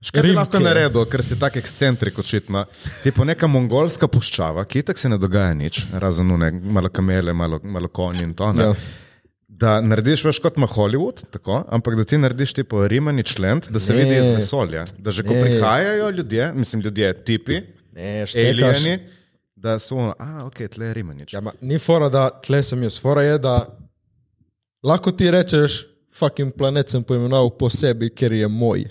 Speaker 1: Škaj bi
Speaker 4: Rimke.
Speaker 1: lahko naredil, ker si tako ekscentrik očitno. Ti pa neka mongolska puščava, ki tako se ne dogaja nič, razen une, malo kamele, malo, malo konj in to. Ne,
Speaker 4: Ja.
Speaker 1: da narediš več kot ima Hollywood, tako, ampak da ti narediš tipo rimani člen, da se ne.
Speaker 2: Ne.
Speaker 1: vidi iz vesolja. Da že ko
Speaker 2: Ne.
Speaker 1: prihajajo ljudje, mislim ljudje, tipi,
Speaker 2: Ne, štekaš.
Speaker 1: alieni, da so, ono, a ok, tle je rimani.
Speaker 4: Ja, ma, ni fora, da tle sem jaz. Fora je, da lahko ti rečeš, fucking planet sem poimenoval po sebi, ker je moj.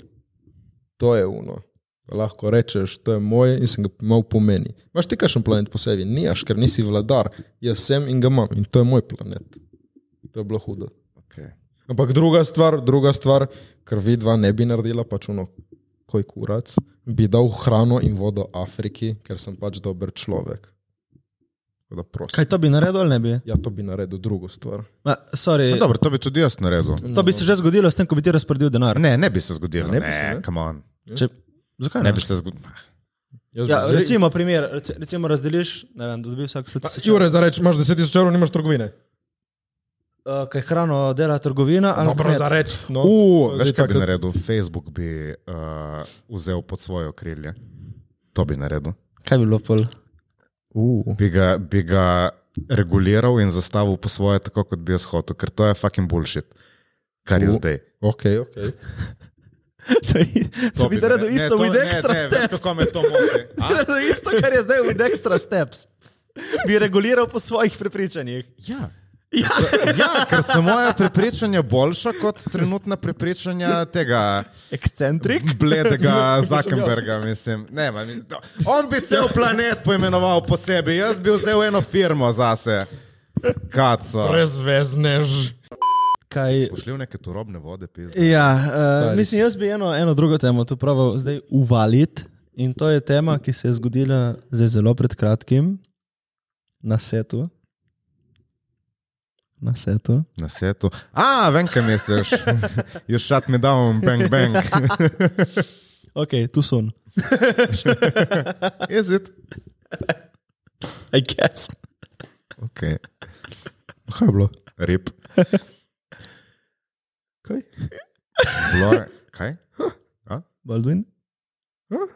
Speaker 4: To je uno. Lahko rečeš, to je moj in sem ga imel po meni. Imaš ti kakšen planet po sebi? Nijaš, ker nisi vladar. Jaz sem in ga imam in to je moj planet. To je bilo hudo.
Speaker 1: Okay.
Speaker 4: Ampak druga stvar, druga stvar, kar vidva ne bi naredila, pač uno, koj kurac, bi dal hrano in vodo Afriki, ker sem pač dober človek. Tako da prosim.
Speaker 2: Kaj to bi naredil ali ne bi?
Speaker 4: Ja, to bi naredil drugo stvar.
Speaker 2: Ma, sorry,
Speaker 1: Dobro, to bi tudi jaz naredil.
Speaker 2: to bi se že zgodilo s tem, ko bi ti razporedil denar.
Speaker 1: Ne, ne bi se zgodilo.
Speaker 4: Ja,
Speaker 1: Ne,
Speaker 4: ne bi se,
Speaker 1: ne,
Speaker 4: ne?
Speaker 1: come on.
Speaker 2: Če, zakaj
Speaker 1: ne bi se zgodilo.
Speaker 4: Jaz
Speaker 2: Ja,
Speaker 4: bi že-
Speaker 2: recimo, primer, rec- recimo razdeliš, ne vem, da dobiš vsak 100
Speaker 4: Pa,
Speaker 2: tisoč.
Speaker 4: Jure, zareč, imaš 10 tisoč evrov, nimaš trgovine.
Speaker 2: Uh, kaj hrano dela trgovina ali
Speaker 4: Dobro,
Speaker 2: kmet?
Speaker 4: zareč. No,
Speaker 1: U,
Speaker 4: To je
Speaker 1: veš,
Speaker 4: zdaj
Speaker 1: kaj bi
Speaker 4: tako-
Speaker 1: naredil? Facebook bi uh, vzel pod svoje okrilje. To bi naredil.
Speaker 2: Kaj bi bilo pol?
Speaker 4: Uh.
Speaker 1: Bi ga, bi ga reguliral in zastavil po svoje, tako kot bi jaz hotel, ker to je fucking bullshit, kar je
Speaker 4: U,
Speaker 1: zdaj.
Speaker 4: Ok, ok.
Speaker 2: To je- To bi naredil isto v extra steps.
Speaker 1: Kako me to moti?
Speaker 2: Bi naredil Isto, kar je zdaj v extra steps. Bi reguliral po svojih prepričanjih.
Speaker 1: Ja. Ja. ja, ker so moja prepričanja boljša kot trenutna prepričanja tega
Speaker 2: Ekscentrik.
Speaker 1: bledega Zuckerberga. Mislim. Ne, ma, ni- to- on bi cel planet poimenoval po sebi, jaz bi vzel eno firmo zase. Kaco.
Speaker 4: Torej, Prezveznež.
Speaker 2: Kaj,
Speaker 1: Smo šli v neke turobne vode, pizda.
Speaker 2: Ja, uh,
Speaker 4: Stari
Speaker 2: mislim,
Speaker 4: si.
Speaker 2: jaz bi eno, eno drugo temo tu pravil zdaj uvaliti. In to je tema, ki se je zgodila zdaj zelo pred kratkim na setu. Na setu.
Speaker 1: Na svetu. A, vem, kaj misliš. You shut me down, bang, bang.
Speaker 2: Ok, tu so.
Speaker 1: Is it?
Speaker 2: I guess.
Speaker 1: Ok,
Speaker 4: Kaj je bilo?
Speaker 1: rip.
Speaker 4: Kaj?
Speaker 1: Blore. Kaj?
Speaker 2: Baldwin?
Speaker 4: Huh?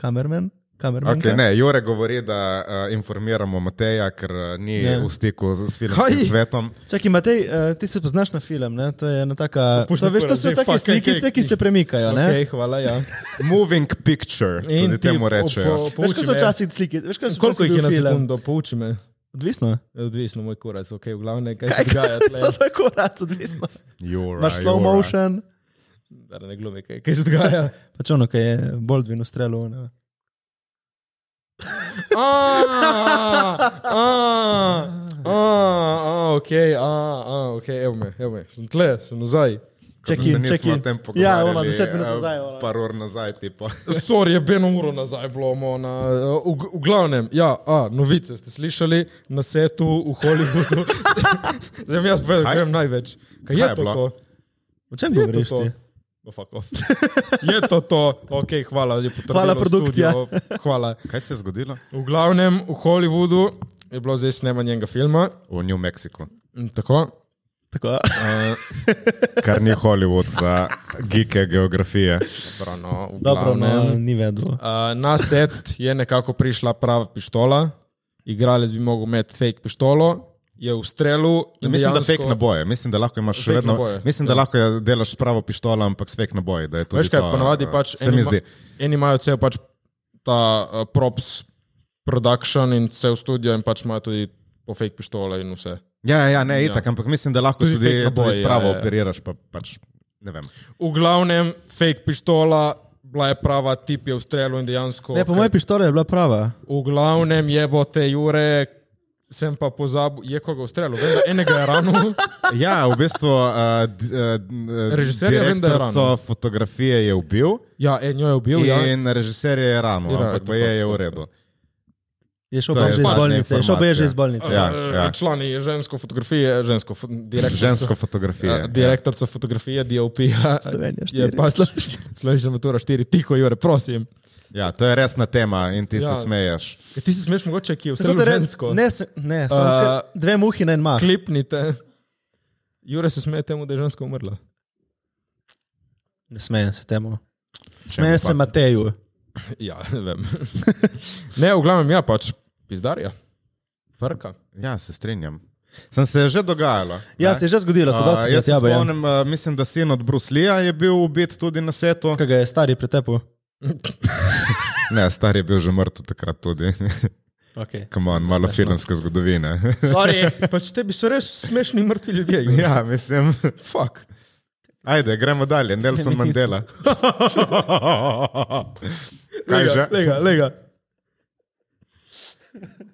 Speaker 2: Kamerman? Kamerman?
Speaker 1: Okay, ne, Jure govori, da uh, informiramo Mateja, ker uh, ni
Speaker 2: Ne.
Speaker 1: ne. v stiku z s
Speaker 4: Kaj?
Speaker 1: filmskim svetom.
Speaker 2: Čakaj, Matej, uh, ti se poznaš na film, ne? To je ena taka.
Speaker 4: Pusti
Speaker 2: To, veš, to
Speaker 4: prvo,
Speaker 2: so
Speaker 4: zdaj
Speaker 2: take
Speaker 4: fuck, kaj,
Speaker 2: slikice,
Speaker 4: kaj-
Speaker 2: ki se premikajo, ne?
Speaker 4: Ok, hvala, ja.
Speaker 1: Moving picture, tudi
Speaker 4: ti
Speaker 1: temu
Speaker 4: po-
Speaker 1: rečejo.
Speaker 2: Veš,
Speaker 4: po- pouči
Speaker 2: kaj so
Speaker 4: me.
Speaker 2: včasih slike? Veš, kaj so
Speaker 4: Koliko
Speaker 2: včasih
Speaker 4: jih je
Speaker 2: bil
Speaker 4: na
Speaker 2: film?
Speaker 4: sekundo? Pouči me.
Speaker 2: Odvisno.
Speaker 4: Odvisno, moj kurac, ok, v glavnem, kaj se dogaja. tle.
Speaker 2: Zato je korak, odvisno.
Speaker 1: Jura,
Speaker 2: Imaš slow
Speaker 1: Jura.
Speaker 2: motion.
Speaker 4: Da ne glumi, kaj, kaj se dogaja.
Speaker 2: Pač ono, kaj je Baldwin ustrelil. Ne?
Speaker 4: Ah, ah, ah, ok, ah, ah, ok, evo me, evo me, sem tle, sem nazaj.
Speaker 1: Ko
Speaker 2: Check in,
Speaker 1: se nismo
Speaker 2: check in.
Speaker 1: o tem
Speaker 2: Ja,
Speaker 1: pogovarjali,
Speaker 2: ono, deset minut
Speaker 1: eh,
Speaker 2: nazaj. Ono.
Speaker 1: Par ur nazaj, tipo.
Speaker 4: Sorry, je beno uro nazaj bilo, mo, na, eh, v, v glavnem, ja, a, novice ste slišali na setu v Hollywoodu. Zdaj bom jaz povedal,
Speaker 1: Kaj?
Speaker 4: kaj vem največ. Kaj,
Speaker 1: Kaj
Speaker 4: je
Speaker 1: je No,
Speaker 4: to
Speaker 1: bilo?
Speaker 4: to?
Speaker 2: O čem
Speaker 4: Je to
Speaker 2: govoriš
Speaker 4: to?
Speaker 2: ti?
Speaker 4: Oh, fuck off. je to to, ok, hvala, je potrebno.
Speaker 2: Hvala, produkcija.
Speaker 4: Hvala.
Speaker 1: Kaj se je zgodilo?
Speaker 4: V glavnem, v Hollywoodu je bilo zdaj snemanje enega filma.
Speaker 1: V New Mexico.
Speaker 4: Mm, Tako.
Speaker 2: Tako,
Speaker 4: Uh,
Speaker 1: Kar ni Hollywood za geeke geografije.
Speaker 4: dobro, no, v
Speaker 2: dobro, no,
Speaker 4: glavnem.
Speaker 2: ni vedel.
Speaker 4: Uh, na set je nekako prišla prava pištola, igralec bi mogel imeti fake pištolo, je v strelu. in
Speaker 1: Ja, Mislim, da
Speaker 4: dejansko-
Speaker 1: fake naboje. Mislim, da lahko imaš še
Speaker 4: Fake
Speaker 1: vedno.
Speaker 4: naboje, ja.
Speaker 1: Mislim, da lahko je- delaš s pravo pištolo, ampak s fake naboje. da je tudi
Speaker 4: Veš kaj,
Speaker 1: to,
Speaker 4: ponavadi
Speaker 1: eh,
Speaker 4: pač
Speaker 1: Se mi zdi.
Speaker 4: eni imajo cel pač ta uh, props production in cel studio in pač imajo tudi po fake pištole in vse.
Speaker 1: Ja, ja, ne, itak, ampak mislim, da lahko
Speaker 4: Tudi
Speaker 1: tudi,
Speaker 4: fake
Speaker 1: tudi,
Speaker 4: naboji,
Speaker 1: tudi spravo
Speaker 4: ja, ja.
Speaker 1: operiraš. Pa, pač, ne vem.
Speaker 4: V glavnem, fake pištola, bila je prava, tip je v strelu in dejansko.
Speaker 2: Ne, po mojem pištole je bila prava.
Speaker 4: V glavnem je bo te Jure, sem pa pozabil, je koga ustrelil, vem, da enega je ranil.
Speaker 1: Ja, v bistvu uh,
Speaker 4: Režiserja vem, da je
Speaker 1: direktorico
Speaker 4: ranil.
Speaker 1: fotografije je ubil
Speaker 4: Ja, en jo je ubil, ja.
Speaker 1: in režiser je ranil,
Speaker 4: Ja,
Speaker 1: ampak
Speaker 4: tako,
Speaker 1: baje je
Speaker 4: tako,
Speaker 1: v
Speaker 4: tako.
Speaker 1: redu.
Speaker 2: Je šel
Speaker 1: To
Speaker 2: pa
Speaker 1: je
Speaker 2: že iz
Speaker 1: pač
Speaker 2: bolnice. Je šel pa že iz
Speaker 1: informacija.
Speaker 2: bolnice.
Speaker 1: Ja,
Speaker 4: Eh,
Speaker 1: ja.
Speaker 4: Člani žensko fotografije, žensko fo- direktorico-
Speaker 1: Žensko
Speaker 4: eh,
Speaker 1: fotografijo.
Speaker 4: Direktorica fotografije, DOP, -ja,
Speaker 2: Slovenija
Speaker 4: je
Speaker 2: štiri.
Speaker 4: pač slovenska matura 4, tiho, Jure, prosim.
Speaker 1: Ja, to je resna tema in ti
Speaker 4: Ja.
Speaker 1: se smeješ.
Speaker 4: Kaj Ti si smeš mogoče, ki je
Speaker 2: Tako
Speaker 4: ustrelil
Speaker 2: da re-
Speaker 4: žensko.
Speaker 2: Ne, se- ne samo
Speaker 4: Eh,
Speaker 2: kar dve muhi na en mah.
Speaker 4: Klipnite. Jure se smeje temu, da je ženska umrla.
Speaker 2: Ne smejem se temu. Smeje se Mateju.
Speaker 4: Ja, ne vem. ne, v glavnem, ja, pač pizdarja. Frka.
Speaker 1: Ja, se strinjam. Sem se že dogajalo.
Speaker 2: Ja,
Speaker 1: ne?
Speaker 2: se je že zgodilo,
Speaker 1: A,
Speaker 2: to dosti
Speaker 1: jaz
Speaker 2: krat
Speaker 1: se
Speaker 2: jabe. Ja.
Speaker 1: spomnim, a, mislim, da sin od Bruslija je bil ubit tudi na setu.
Speaker 2: Kaj ga je stari pretepel?
Speaker 1: Ne, star je bil že mrtev takrat tudi.
Speaker 2: Okay.
Speaker 1: Come On, malo filmske zgodovine.
Speaker 4: Sorry. pač tebi so res smešni mrtvi ljudje. Jure.
Speaker 1: ja, mislim.
Speaker 4: Fuck.
Speaker 1: Ajde, gremo dalje. Nelson Mandela. Kaj
Speaker 4: Ja,
Speaker 1: že?
Speaker 2: Lega, lega.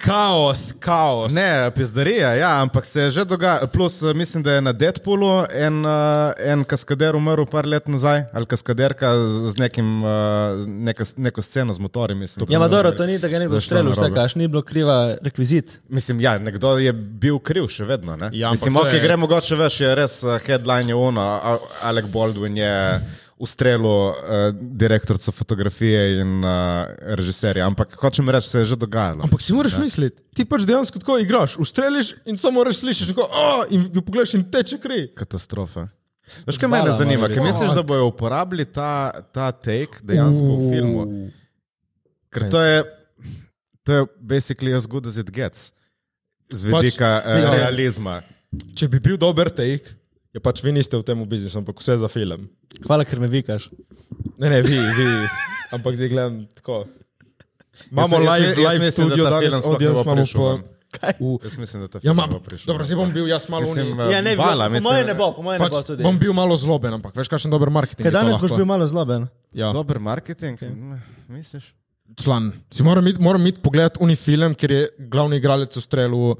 Speaker 4: kaos, kaos.
Speaker 1: Ne, pizdarija, ja, ampak se je že dogajalo. Plus, eh, mislim, da je na Deadpoolu en, eh, en kaskader umrl par let nazaj, ali kaskaderka z z nekim, eh, z neka, neko sceno z motorjem. Mislim,
Speaker 2: Ja, ma dobro, to ni, da ga je nekdo
Speaker 1: Zašlo
Speaker 2: strelil,
Speaker 1: narobe.
Speaker 2: šta kaš, ni bilo kriva rekvizit.
Speaker 1: Mislim, ja, nekdo je bil kriv še vedno. Ne?
Speaker 4: Ja, ampak
Speaker 1: mislim,
Speaker 4: to
Speaker 1: ok,
Speaker 4: je-
Speaker 1: je... gre mogoče več, je res eh, headline je ono, a- Alec Baldwin je ustrelil eh, direktorico fotografije in eh, režiserja, ampak hočem reči, se je že dogajalo.
Speaker 4: Ampak si moraš misliti, ti pač dejansko tako igraš, ustreliš in samo moraš slišiš, kako, "A", in jo pogledaš in teče kri.
Speaker 1: Katastrofa. Veš, kaj
Speaker 2: Hvala,
Speaker 4: no,
Speaker 1: mene zanima?
Speaker 2: Marko.
Speaker 1: Kaj
Speaker 4: ja.
Speaker 1: misliš, da bojo uporabili ta, ta take dejansko v filmu? Ker to je, to je basically as good as it gets. Z
Speaker 4: Pač,
Speaker 1: vidika pač,
Speaker 4: mislim-
Speaker 1: realizma.
Speaker 4: Če bi bil dober take, je pač vi niste v tem biznisu, ampak vse za film.
Speaker 2: Hvala, ker me vikaš.
Speaker 4: Ne, ne, vi, vi, ampak zdaj gledam tako. Imamo
Speaker 1: Jaz- jaz-
Speaker 4: live,
Speaker 1: jaz
Speaker 4: live
Speaker 1: mislim, da
Speaker 4: studio,
Speaker 1: ta
Speaker 4: danes
Speaker 1: film sploh ne bo
Speaker 4: audience imamo
Speaker 1: prišel
Speaker 4: po...
Speaker 1: ven.
Speaker 2: Kaj?
Speaker 4: v-
Speaker 1: Jaz mislim, da ta
Speaker 4: Ja,
Speaker 1: film
Speaker 4: ma,
Speaker 1: ne bo prišel.
Speaker 4: dobro, zdaj bom bil jaz malo
Speaker 1: Mislim,
Speaker 4: unik.
Speaker 1: eh,
Speaker 2: Ja, ne, bi
Speaker 1: bala,
Speaker 2: bilo- po
Speaker 1: mislim,
Speaker 2: moje ne
Speaker 1: da-
Speaker 2: bo, po moje ne bo
Speaker 4: Pač,
Speaker 2: tudi.
Speaker 4: bom bil malo zloben, ampak veš, kakšen dober marketing.
Speaker 2: Kaj
Speaker 4: je to
Speaker 2: danes boš
Speaker 4: lahko.
Speaker 2: bil malo zloben?
Speaker 4: Ja.
Speaker 1: Dober marketing, mm, misliš?
Speaker 4: član. Si moram iti, moram iti pogledati unifilm, ker je glavni igralec ustrelil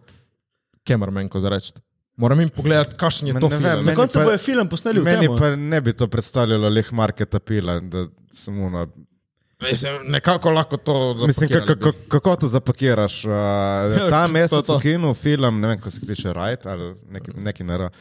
Speaker 4: Camerman, ko zarečete. Moram jim pogledati, kakšen je
Speaker 1: Ma
Speaker 4: to
Speaker 1: ne
Speaker 4: film.
Speaker 1: vem,
Speaker 2: Na
Speaker 1: meni
Speaker 2: koncu
Speaker 1: pa-
Speaker 2: bojo film posneli v
Speaker 1: Meni
Speaker 2: tem.
Speaker 1: pa ne bi to predstavljalo leh marketa pila, da samo na
Speaker 4: Mislim, nekako lahko to
Speaker 1: Mislim,
Speaker 4: zapakirali
Speaker 1: kako,
Speaker 4: bi. Ja,
Speaker 1: kako, kako to zapakiraš? Uh, ta
Speaker 4: to,
Speaker 1: mesec
Speaker 4: to.
Speaker 1: v kinu, film, ne vem, kako se piše, Rajt ali neki, neki nara.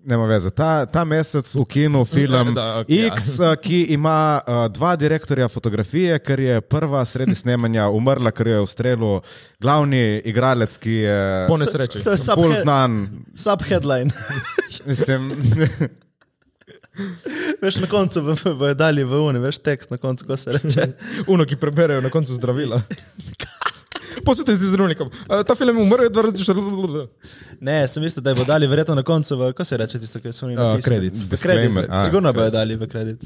Speaker 1: Nema veze. Ta, ta mesec v kinu film da,
Speaker 4: Da, ok,
Speaker 1: okay,
Speaker 4: ja.
Speaker 1: X, ja. ki ima uh, dva direktorja fotografije, ker je prva sredi snemanja umrla, ker jo je ustrelil glavni igralec, ki je
Speaker 4: Po nesreči.
Speaker 2: To je
Speaker 1: bolj
Speaker 2: subhead-
Speaker 1: znan.
Speaker 2: subheadline.
Speaker 1: Mislim,
Speaker 2: Veš, na koncu bo- bojo dali v uni, veš tekst na koncu, ko se reče.
Speaker 4: Uno, ki preberejo na koncu zdravila. Posvetite se z zdravnikom. Eh, Ta film je umrl, da rečeš.
Speaker 2: Ne, sem mislil, da jo bo dali verjetno na koncu, v, ko se reče tisto, kar so oni
Speaker 4: Ja,
Speaker 2: napisali.
Speaker 4: credits.
Speaker 2: V
Speaker 1: Disclaimer.
Speaker 2: Kredit.
Speaker 1: A,
Speaker 2: Sigurno bojo
Speaker 1: credits.
Speaker 2: dali v kredit.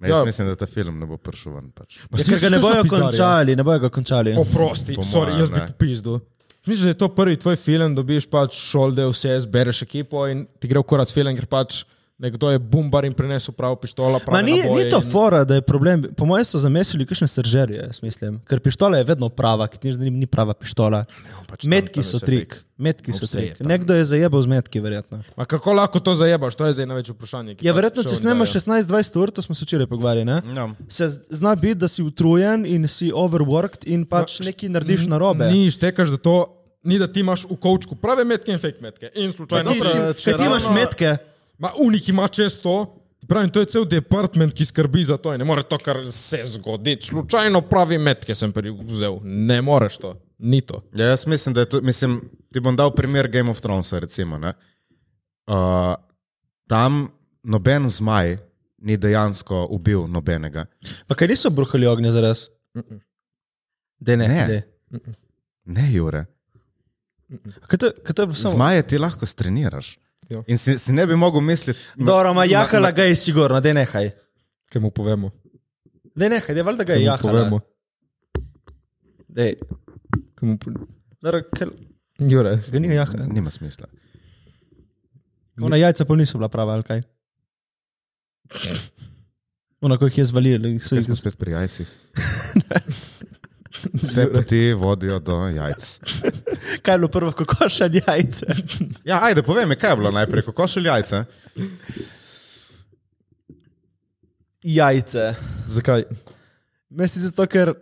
Speaker 1: jaz
Speaker 4: Ja.
Speaker 1: ja. mislim, da ta film ne bo prišel ven. Pač.
Speaker 2: Ja, ker ga ne bojo končali, ne bojo ga končali.
Speaker 4: Oprosti,
Speaker 1: Po
Speaker 4: sorry,
Speaker 1: mojem,
Speaker 4: jaz bi
Speaker 1: ne.
Speaker 4: popizdil. Misliš, da je to prvi tvoj film, dobiš pač šolde, vse zbereš ekipo in ti gre v korac film, ker pač nekdo je bumbar in prinesel pravo pištolo.
Speaker 2: Ma
Speaker 4: prave
Speaker 2: ni,
Speaker 4: naboje
Speaker 2: ni to
Speaker 4: in-
Speaker 2: fora, da je problem. Po mojem so zamesili kakšne seržerje, jaz mislim. Ker pištola je vedno prava, ki ni, ni prava pištola.
Speaker 4: pač tam- tam
Speaker 2: Metki
Speaker 4: je
Speaker 2: so
Speaker 4: vse
Speaker 2: trik. Metki so
Speaker 4: Vse je
Speaker 2: trik. Nekdo je zajebal z metki, verjetno.
Speaker 4: Ma kako lahko to zajebaš, to je zdaj največje vprašanje. ki
Speaker 2: Ja,
Speaker 4: pač No.
Speaker 2: verjetno,
Speaker 4: še
Speaker 2: če snemaš
Speaker 4: oddajo.
Speaker 2: 16-20 ur, to smo se včeraj pogovarjali, ne?
Speaker 1: Ja.
Speaker 2: se z- zna biti, da si utrujen in si overworked in pač nekaj narediš na robe.
Speaker 4: No, Ni štekaš, da to ni, da ti imaš v kovčku prave metke in fake metke. In slučajno,
Speaker 1: dobro,
Speaker 4: prav-
Speaker 1: če
Speaker 2: Če ti imaš
Speaker 4: no.
Speaker 1: ravno-
Speaker 2: metke,
Speaker 4: ma unik ima čez to. Pravim, to je cel department, ki skrbi za to in ne more to, kar se zgodi. Slučajno pravi metke sem pri- vzel. Ne moreš to, ni to.
Speaker 1: Ja, jaz mislim, da je to. Mislim, ti bom dal primer Game of Thrones. Recimo, ne. uh, tam noben zmaj ni dejansko ubil nobenega.
Speaker 2: pa kaj niso bruhali ognja za res. De ne,
Speaker 1: Ne.
Speaker 2: ne.
Speaker 1: Ne, Jure.
Speaker 2: Kaj to, kaj to je bilo samo?
Speaker 1: Zmaje ti lahko streniraš.
Speaker 4: Ja.
Speaker 1: In si, si ne bi mogel misliti, no,
Speaker 2: Dobro, ma jahala ga je sigurno, de nehaj.
Speaker 4: Kaj mu povemo?
Speaker 2: De nehaj, de valjda ga
Speaker 4: Kaj
Speaker 2: je
Speaker 4: mu povemo?
Speaker 2: jahala. Dej.
Speaker 4: Kaj mu po-
Speaker 2: Dobro, ker
Speaker 4: Jure,
Speaker 2: ga ni
Speaker 1: da
Speaker 2: jahala.
Speaker 1: nima smisla.
Speaker 2: Ona jajca pa niso bila prava, ali kaj? Ona, ko jih je zvalil, so
Speaker 1: Če
Speaker 2: jih
Speaker 1: smo
Speaker 2: z-
Speaker 1: spet pri jajcih. Vse poti vodijo do jajc.
Speaker 2: Kaj je bilo prvo, kako še jajce?
Speaker 1: Ja, ajde, povej mi, kaj je bilo najprej, kako šel jajce?
Speaker 2: jajce.
Speaker 4: zakaj?
Speaker 2: Mislim, zato ker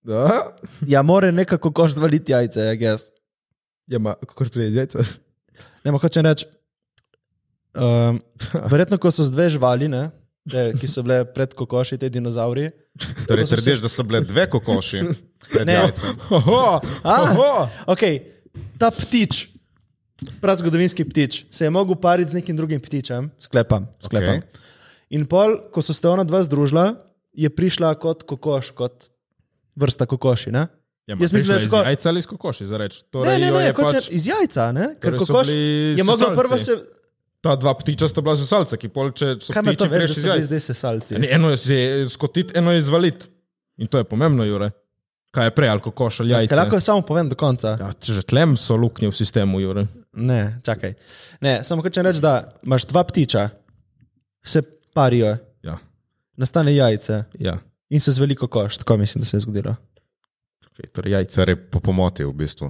Speaker 5: Da.
Speaker 2: Ja, mora nekako koš zvaliti jajce, ja, jaz.
Speaker 5: Ja, ma, kako pride jajca?
Speaker 2: Ne, ma hočem reči. Um, verjetno, ko so dve živali, ne, te, ki so bile pred kokoši, te dinozauri.
Speaker 1: Torej, trdiš, da so bile dve kokoši pred
Speaker 2: Ne.
Speaker 1: jajcem.
Speaker 5: Oho,
Speaker 2: A?
Speaker 5: oho.
Speaker 2: Okay, ta ptič, prazgodovinski ptič, se je mogel pariti z nekim drugim ptičem, sklepam. sklepam.
Speaker 1: Okej.
Speaker 2: Okay. In pol, ko so se ona dva združila, je prišla kot kokoš, kot vrsta kokoši. Ne,
Speaker 4: Ja,
Speaker 2: Jaz mislim, da je tako-
Speaker 4: Ajca ali skokoši, za reči. Torej,
Speaker 2: ne, ne,
Speaker 4: jo
Speaker 2: ne
Speaker 4: je
Speaker 2: kot
Speaker 4: pač,
Speaker 2: pač... iz jajca, ne? ker
Speaker 4: Torej so
Speaker 2: kokoš
Speaker 4: bili
Speaker 2: je mogla
Speaker 4: sesalci.
Speaker 2: prva se.
Speaker 4: Ta dva ptiča sta bila že salca, ki pol če so
Speaker 2: Kaj me to
Speaker 4: ptiči
Speaker 2: veš, da
Speaker 4: prešli
Speaker 2: so bili
Speaker 4: zdaj.
Speaker 2: zdaj sesalci?
Speaker 4: Ne, eno je že skotiti, eno je izvaliti. In to je pomembno, Jure. Kaj je prej, ali kokoš ali jajce?
Speaker 2: Ja, Kaj lahko samo povem do konca?
Speaker 4: Ja, če že tlem so luknje v sistemu, Jure.
Speaker 2: Ne, čakaj. Ne, samo hočem reči, da imaš dva ptiča, se parijo,
Speaker 4: Ja,
Speaker 2: nastane jajce
Speaker 4: ja.
Speaker 2: in se z veliko koš, tako mislim, da se je zgodilo.
Speaker 4: Okay, torej jajce.
Speaker 1: Torej, po pomoti v bistvu.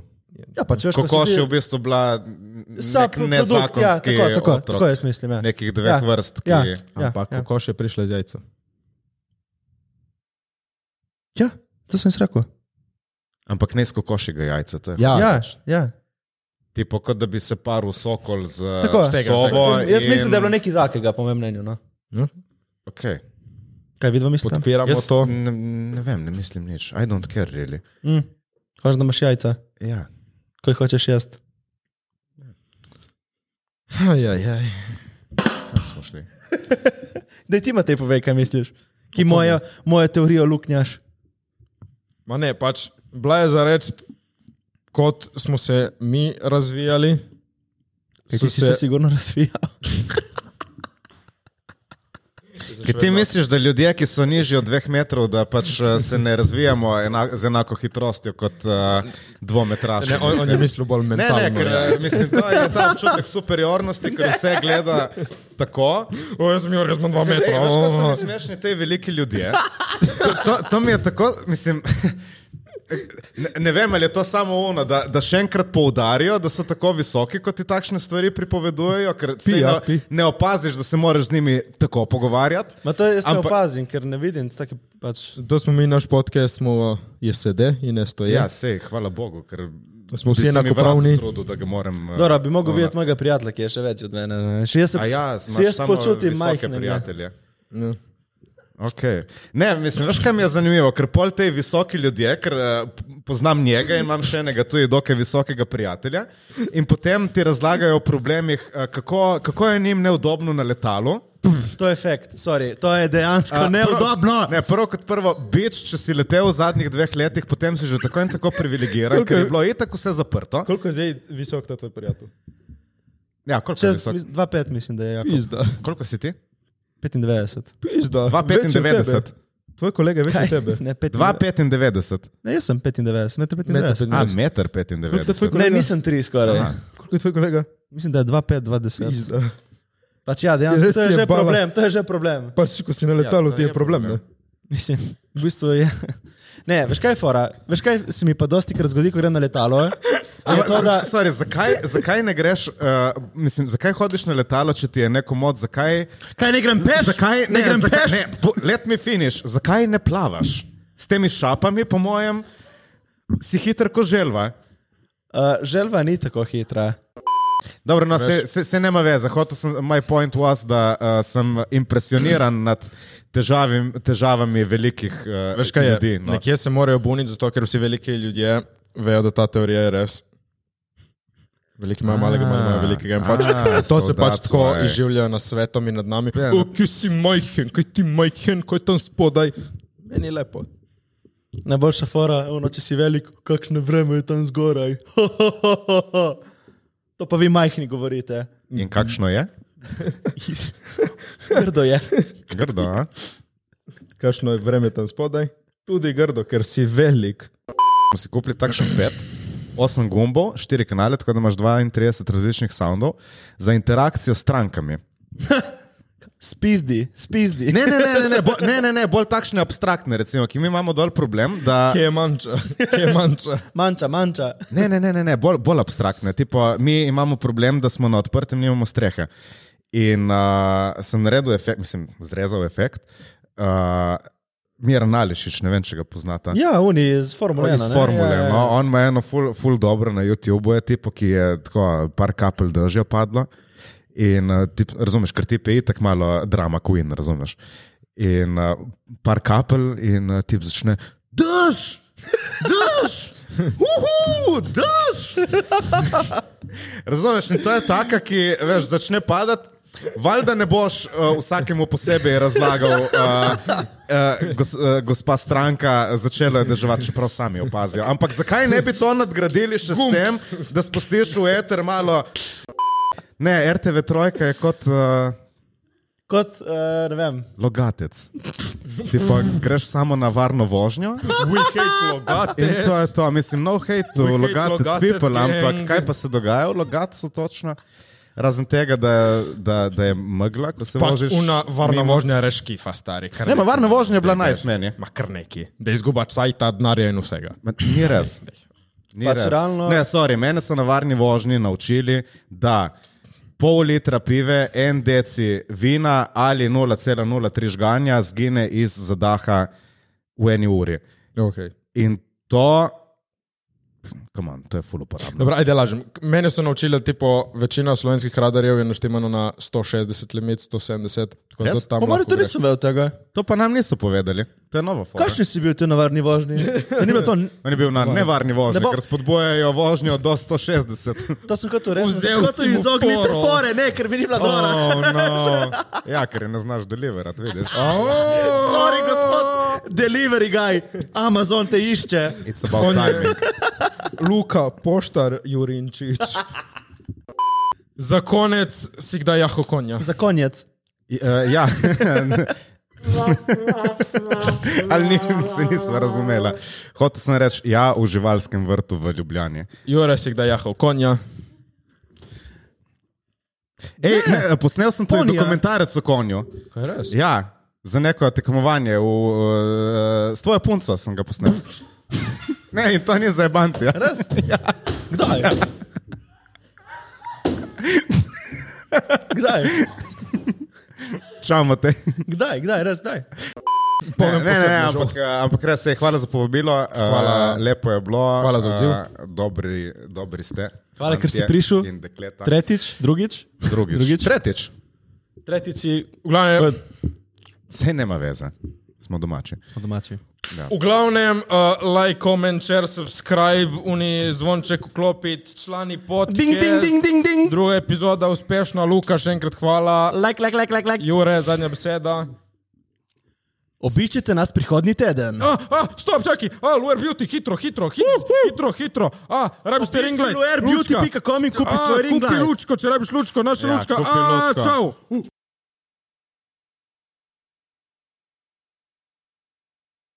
Speaker 2: Ja, pač veš, ko si
Speaker 1: Kokoš
Speaker 2: ti-
Speaker 1: je v bistvu bila
Speaker 2: Sub
Speaker 1: nek
Speaker 2: produkt,
Speaker 1: nezakonski
Speaker 2: Ja, tako, tako,
Speaker 1: otrok
Speaker 2: tako jaz mislim. Ja.
Speaker 1: nekih dveh
Speaker 2: Ja,
Speaker 1: vrst, ki
Speaker 2: ja, ja,
Speaker 4: Ampak
Speaker 2: ja.
Speaker 4: kokoš je prišla z jajca.
Speaker 2: ja, to sem jaz rekel.
Speaker 1: Ampak ne iz kokošjega jajca. to je
Speaker 2: Ja, ja.
Speaker 1: Tipo, kot da bi se paril sokol z
Speaker 2: Tako,
Speaker 1: tako, sovo.
Speaker 2: Jaz
Speaker 1: in...
Speaker 2: mislim, da je bilo nekaj takega, po mojem mnenju. No.
Speaker 1: Okay.
Speaker 2: Kaj vidva mislite?
Speaker 4: Podpiramo
Speaker 1: Jaz
Speaker 4: to.
Speaker 1: Ne, ne vem, ne mislim nič. I don't care really.
Speaker 2: Mm. Hočeš, da imaš jajca,
Speaker 1: Ja.
Speaker 2: ko jih hočeš jesti.
Speaker 4: Ja, ja.
Speaker 1: smo šli.
Speaker 2: Da ti imaš te povej, kaj misliš. Ki mojo, mojo teorijo luknjaš.
Speaker 4: Ma ne, pač bila je za reči, kot smo se mi razvijali.
Speaker 2: Kaj
Speaker 4: so
Speaker 2: ti si se sigurno razvijal.
Speaker 1: Kaj ti misliš, da ljudje, ki so nižji od dveh metrov, da pač eh, se ne razvijamo enak, z enako hitrostjo kot uh, dvometraši?
Speaker 4: Ne, on, on je mislil bolj
Speaker 1: Ne,
Speaker 4: mentalno. ja.
Speaker 1: ne, ker eh, mislim, to je ta občutek superiornosti, ker vse gleda tako.
Speaker 4: O, jaz mi je resno dva
Speaker 1: Ej,
Speaker 4: metra.
Speaker 1: veš, kaj so mi
Speaker 4: o.
Speaker 1: smešni te veliki ljudje? To, to, to mi je tako, mislim. Ne, ne vem, ali je to samo ono, da, da še enkrat poudarijo, da so tako visoki, kot ti takšne stvari pripovedujejo, ker saj
Speaker 4: ja,
Speaker 1: ne,
Speaker 4: pi.
Speaker 1: ne opaziš, da se moraš z njimi tako pogovarjati.
Speaker 2: Ma to jaz ne
Speaker 1: Ampak-
Speaker 2: opazim, ker ne vidim. Taki, pač,
Speaker 4: To smo mi naš podcast, smo je sede in ne stoje.
Speaker 1: Ja, sej, hvala Bogu, ker
Speaker 4: Smo vsi
Speaker 1: bi se mi
Speaker 4: enakopravni.
Speaker 1: vrat Trudu, da ga moram. eh,
Speaker 2: Dora, bi mogel
Speaker 1: ona-
Speaker 2: videti mojega prijatelja, ki je še več od mene. ne. Še jaz se,
Speaker 1: A ja,
Speaker 2: se jaz počutim ja.
Speaker 1: majhne
Speaker 2: majhnega.
Speaker 1: prijatelje. Okay. Ne, mislim, veš, kaj mi je zanimivo, ker pol te visoki ljudje, ker eh, poznam njega in imam še enega tudi dokaj visokega prijatelja, in potem ti razlagajo o problemih, eh, kako, kako je njim neudobno na letalu.
Speaker 2: To je fakt, sorry, to je dejansko
Speaker 1: A,
Speaker 2: uh, neudobno.
Speaker 1: Prvo, ne, prvo kot prvo, bič, če si letel v zadnjih dveh letih, potem si že tako in tako privilegiran, ker je bilo itak vse zaprto.
Speaker 4: Koliko je zdaj visok ta tvoj prijatelj?
Speaker 1: Ja, koliko, je
Speaker 2: Čez
Speaker 1: visok,
Speaker 2: 2,5 mislim, da je jako.
Speaker 4: Pizda.
Speaker 1: koliko si ti?
Speaker 2: 95.
Speaker 4: Pizda.
Speaker 1: 2,95.
Speaker 4: Tvoj kolega je večji
Speaker 2: Kaj?
Speaker 4: od tebe.
Speaker 2: Ne, 95.
Speaker 1: 2,95.
Speaker 2: Ne, jaz sem 95, meter
Speaker 4: Meter
Speaker 2: 95.
Speaker 1: A,
Speaker 4: 95.
Speaker 1: meter
Speaker 4: Koliko je
Speaker 1: 95.
Speaker 4: tvoj kolega?
Speaker 2: Ne, nisem 3 skoraj.
Speaker 1: Aha.
Speaker 2: Aha.
Speaker 4: Koliko je tvoj kolega?
Speaker 2: Mislim, da je 2,5, 20.
Speaker 4: Pizda.
Speaker 2: Pač ja, dejansko
Speaker 4: Res
Speaker 2: to je
Speaker 4: ti je
Speaker 2: že
Speaker 4: bala.
Speaker 2: problem, to je že problem.
Speaker 4: Pač, ko si na letalu,
Speaker 1: Ja, to
Speaker 4: ti je
Speaker 1: je
Speaker 4: problem.
Speaker 1: problem.
Speaker 4: ne?
Speaker 2: Mislim, v bistvu je. Ne, veš kaj je fora? Veš kaj se mi pa dosti krat zgodi, ko grem na letalo? Je
Speaker 1: Ampak,
Speaker 2: to, da
Speaker 1: sorry, zakaj, zakaj ne greš, uh, mislim, zakaj hodiš na letalo, če ti je neko mod, zakaj,
Speaker 2: Kaj ne grem peš?
Speaker 1: zakaj
Speaker 2: ne grem
Speaker 1: zakaj,
Speaker 2: peš?
Speaker 1: Ne, po, let me finish, zakaj ne plavaš? S temi šapami, po mojem, si hiter kot želva.
Speaker 2: Uh, želva ni tako hitra.
Speaker 1: Dobro, no, se, se, se nema veze. Hotel sem, moj point was, da uh, sem impresioniran nad težavim, težavami velikih uh,
Speaker 4: Veš kaj je?
Speaker 1: ljudi.
Speaker 4: No. Nekje se morajo buniti, zato ker vsi veliki ljudje vejo, da ta teorija je res. Veliki imajo malega, malo imajo velikega. in Pač,
Speaker 1: A,
Speaker 4: to
Speaker 1: so
Speaker 4: se pač
Speaker 1: that's
Speaker 4: tako
Speaker 1: why.
Speaker 4: izživljajo nad svetom in nad nami.
Speaker 1: Ja.
Speaker 4: O, Kje si majhen, kaj ti majhen, kaj tam spodaj. Meni je lepo.
Speaker 2: Najboljša fora, ono, če si velik, kakšno vreme je tam zgoraj. to pa vi majhni govorite.
Speaker 1: In kakšno je?
Speaker 2: Grdo je.
Speaker 1: Grdo, a?
Speaker 4: Kakšno je vreme tam spodaj? Tudi grdo, ker si velik.
Speaker 1: smo si kupili takšen pet, osem gumbov, štiri kanale, tako da imaš 32 različnih soundov za interakcijo s strankami.
Speaker 2: Spizdi, spizdi.
Speaker 1: Ne, ne, ne, ne, ne, bo, ne, ne, ne bolj takšne abstraktne, recimo, ki mi imamo dol problem. Da,
Speaker 4: Kje je manjša? Kje je manjša?
Speaker 2: Manča, manča.
Speaker 1: ne, ne, ne, ne, ne bolj, bolj abstraktne. Tipo, mi imamo problem, da smo na odprtem, nimamo strehe. In uh, sem naredil efekt, mislim, zrezal efekt. Uh, Miren Ališič, ne vem, če ga poznate.
Speaker 2: Ja, oni iz Formule 1.
Speaker 1: Iz Formule. Ja, ja, ja. No, on ima eno ful, ful dobro na YouTubu, je tipo, ki je tako, par kapelj držja padlo. In eh, tip, razumeš, ker ti je tako malo drama queen, razumeš. In uh, par kapelj in uh, ti začne, daš, daš, uhu, daš. Razumeš, in to je taka, ki veš, začne padati. Valjda ne boš uh, vsakemu posebej razlagal, uh, uh, gos, uh, gospa stranka začela je deževati, čeprav sami opazijo. Ampak zakaj ne bi to nadgradili še s tem, da spustiš v eter malo. Ne, RTV trojka je kot uh,
Speaker 2: Kot, uh, ne vem,
Speaker 1: logatec. Ti pa greš samo na varno vožnjo.
Speaker 4: We hate
Speaker 1: In
Speaker 4: logate.
Speaker 1: to je to, mislim, no hate to,
Speaker 4: hate
Speaker 1: logatec
Speaker 4: Logatec
Speaker 1: people,
Speaker 4: gang.
Speaker 1: ampak kaj pa se dogaja v logatcu točno? Razen tega, da, da, da je megla, ko se
Speaker 4: Pač
Speaker 1: voziš.
Speaker 4: una varna
Speaker 1: mimo.
Speaker 4: vožnja reškifa, stari. kar
Speaker 1: Ne, ma varna vožnja je bila
Speaker 4: Da je-
Speaker 1: najsmenje.
Speaker 4: Ma kar neki, da izguba cajta, denarja in vsega.
Speaker 1: Ma, Ni res. Ni
Speaker 2: Pač
Speaker 1: res.
Speaker 2: realno-
Speaker 1: Ne, sorry, mene so na varni vožnji naučili, da pol litra pive, en deci vina ali 0,03 žganja zgine iz zadaha v eni uri.
Speaker 4: Okay.
Speaker 1: In to, come on, to je full uporabno.
Speaker 4: Dobra, ajde, lažem. K- Mene so naučili, tipo, večina slovenskih radarjev je naštemano na 160 limit, 170, tako da
Speaker 1: Res?
Speaker 4: tam.
Speaker 2: po mojem
Speaker 4: lahko
Speaker 2: tudi
Speaker 4: gre.
Speaker 2: nisem vedel tega.
Speaker 1: To pa nam niso povedali, to je nova forma.
Speaker 2: Kakšni si bil ti na varni vožnji? Ja, Ni bilo to,
Speaker 1: On je bil na nevarni vožnji,
Speaker 2: Ne bo-
Speaker 1: ker spodbujajo vožnjo do 160.
Speaker 2: to sem kot rekel,
Speaker 4: Vzel
Speaker 2: sem hotel
Speaker 4: si mu
Speaker 2: izogniti
Speaker 4: foro.
Speaker 2: fore, ne, ker mi ni bila dobra.
Speaker 1: Oh, no. Ja, ker je ne znaš deliverati, vidiš.
Speaker 2: Oh. Sorry, gospod, delivery guy, Amazon te išče.
Speaker 1: It's about timing.
Speaker 4: Luka, poštar Jurinčič. Za konec si kdaj jaho konja.
Speaker 2: Za konec.
Speaker 1: Uh, ja. Ali ni, se nismo razumela. Hotel sem reči, ja, v živalskem vrtu v Ljubljani.
Speaker 4: Jure si kdaj jaho konja.
Speaker 1: Ej, ne, posnel sem tudi
Speaker 2: Konja.
Speaker 1: dokumentarec o konju.
Speaker 4: Kaj res?
Speaker 1: Ja, za neko tekmovanje, v, uh, s tvojo punco sem ga posnel. Ne, in to ni za banci. Ja.
Speaker 2: Res? Ja. Kdaj? Kdaj?
Speaker 1: Čau, Matej.
Speaker 2: Kdaj? Kdaj? Res, kdaj?
Speaker 1: Ne, ne, ne,
Speaker 4: posebno žal.
Speaker 1: ampak, eh, ampak res je, hvala za povabilo.
Speaker 4: Hvala.
Speaker 1: Hvala. Lepo je bilo.
Speaker 4: Hvala za odziv.
Speaker 1: Eh, Dobri, dobri ste.
Speaker 2: Hvala, ker si
Speaker 1: Fantje
Speaker 2: prišel.
Speaker 1: in dekleta.
Speaker 2: Tretjič, drugič?
Speaker 1: Drugič. Drugič. Tretjič.
Speaker 2: Tretjič si
Speaker 4: V glavnem,
Speaker 1: Sej nema veze, smo domači.
Speaker 2: domači.
Speaker 4: v glavnem uh, like, comment, share, subscribe, uni zvonček vklopiti, člani pod.
Speaker 2: Ding, ding, ding, ding, ding.
Speaker 4: Druga epizoda uspešna, Luka, še enkrat hvala.
Speaker 2: Like, like, like, like, like.
Speaker 4: Jure, zadnja beseda.
Speaker 2: Obiščite nas prihodnji teden.
Speaker 4: A, a, stop, čakaj, a, Luer Beauty, hitro, hitro, hitro, hitro, hitro, a, rabiš te ringlaj.
Speaker 2: Luer Beauty
Speaker 4: lučka.
Speaker 2: pika com in kupi
Speaker 4: A,
Speaker 2: svoj ringlaj.
Speaker 4: Kupi lučko, če rabiš lučko, naša
Speaker 1: Ja,
Speaker 4: lučka,
Speaker 1: kupi
Speaker 4: a,
Speaker 1: lučko.
Speaker 4: čau.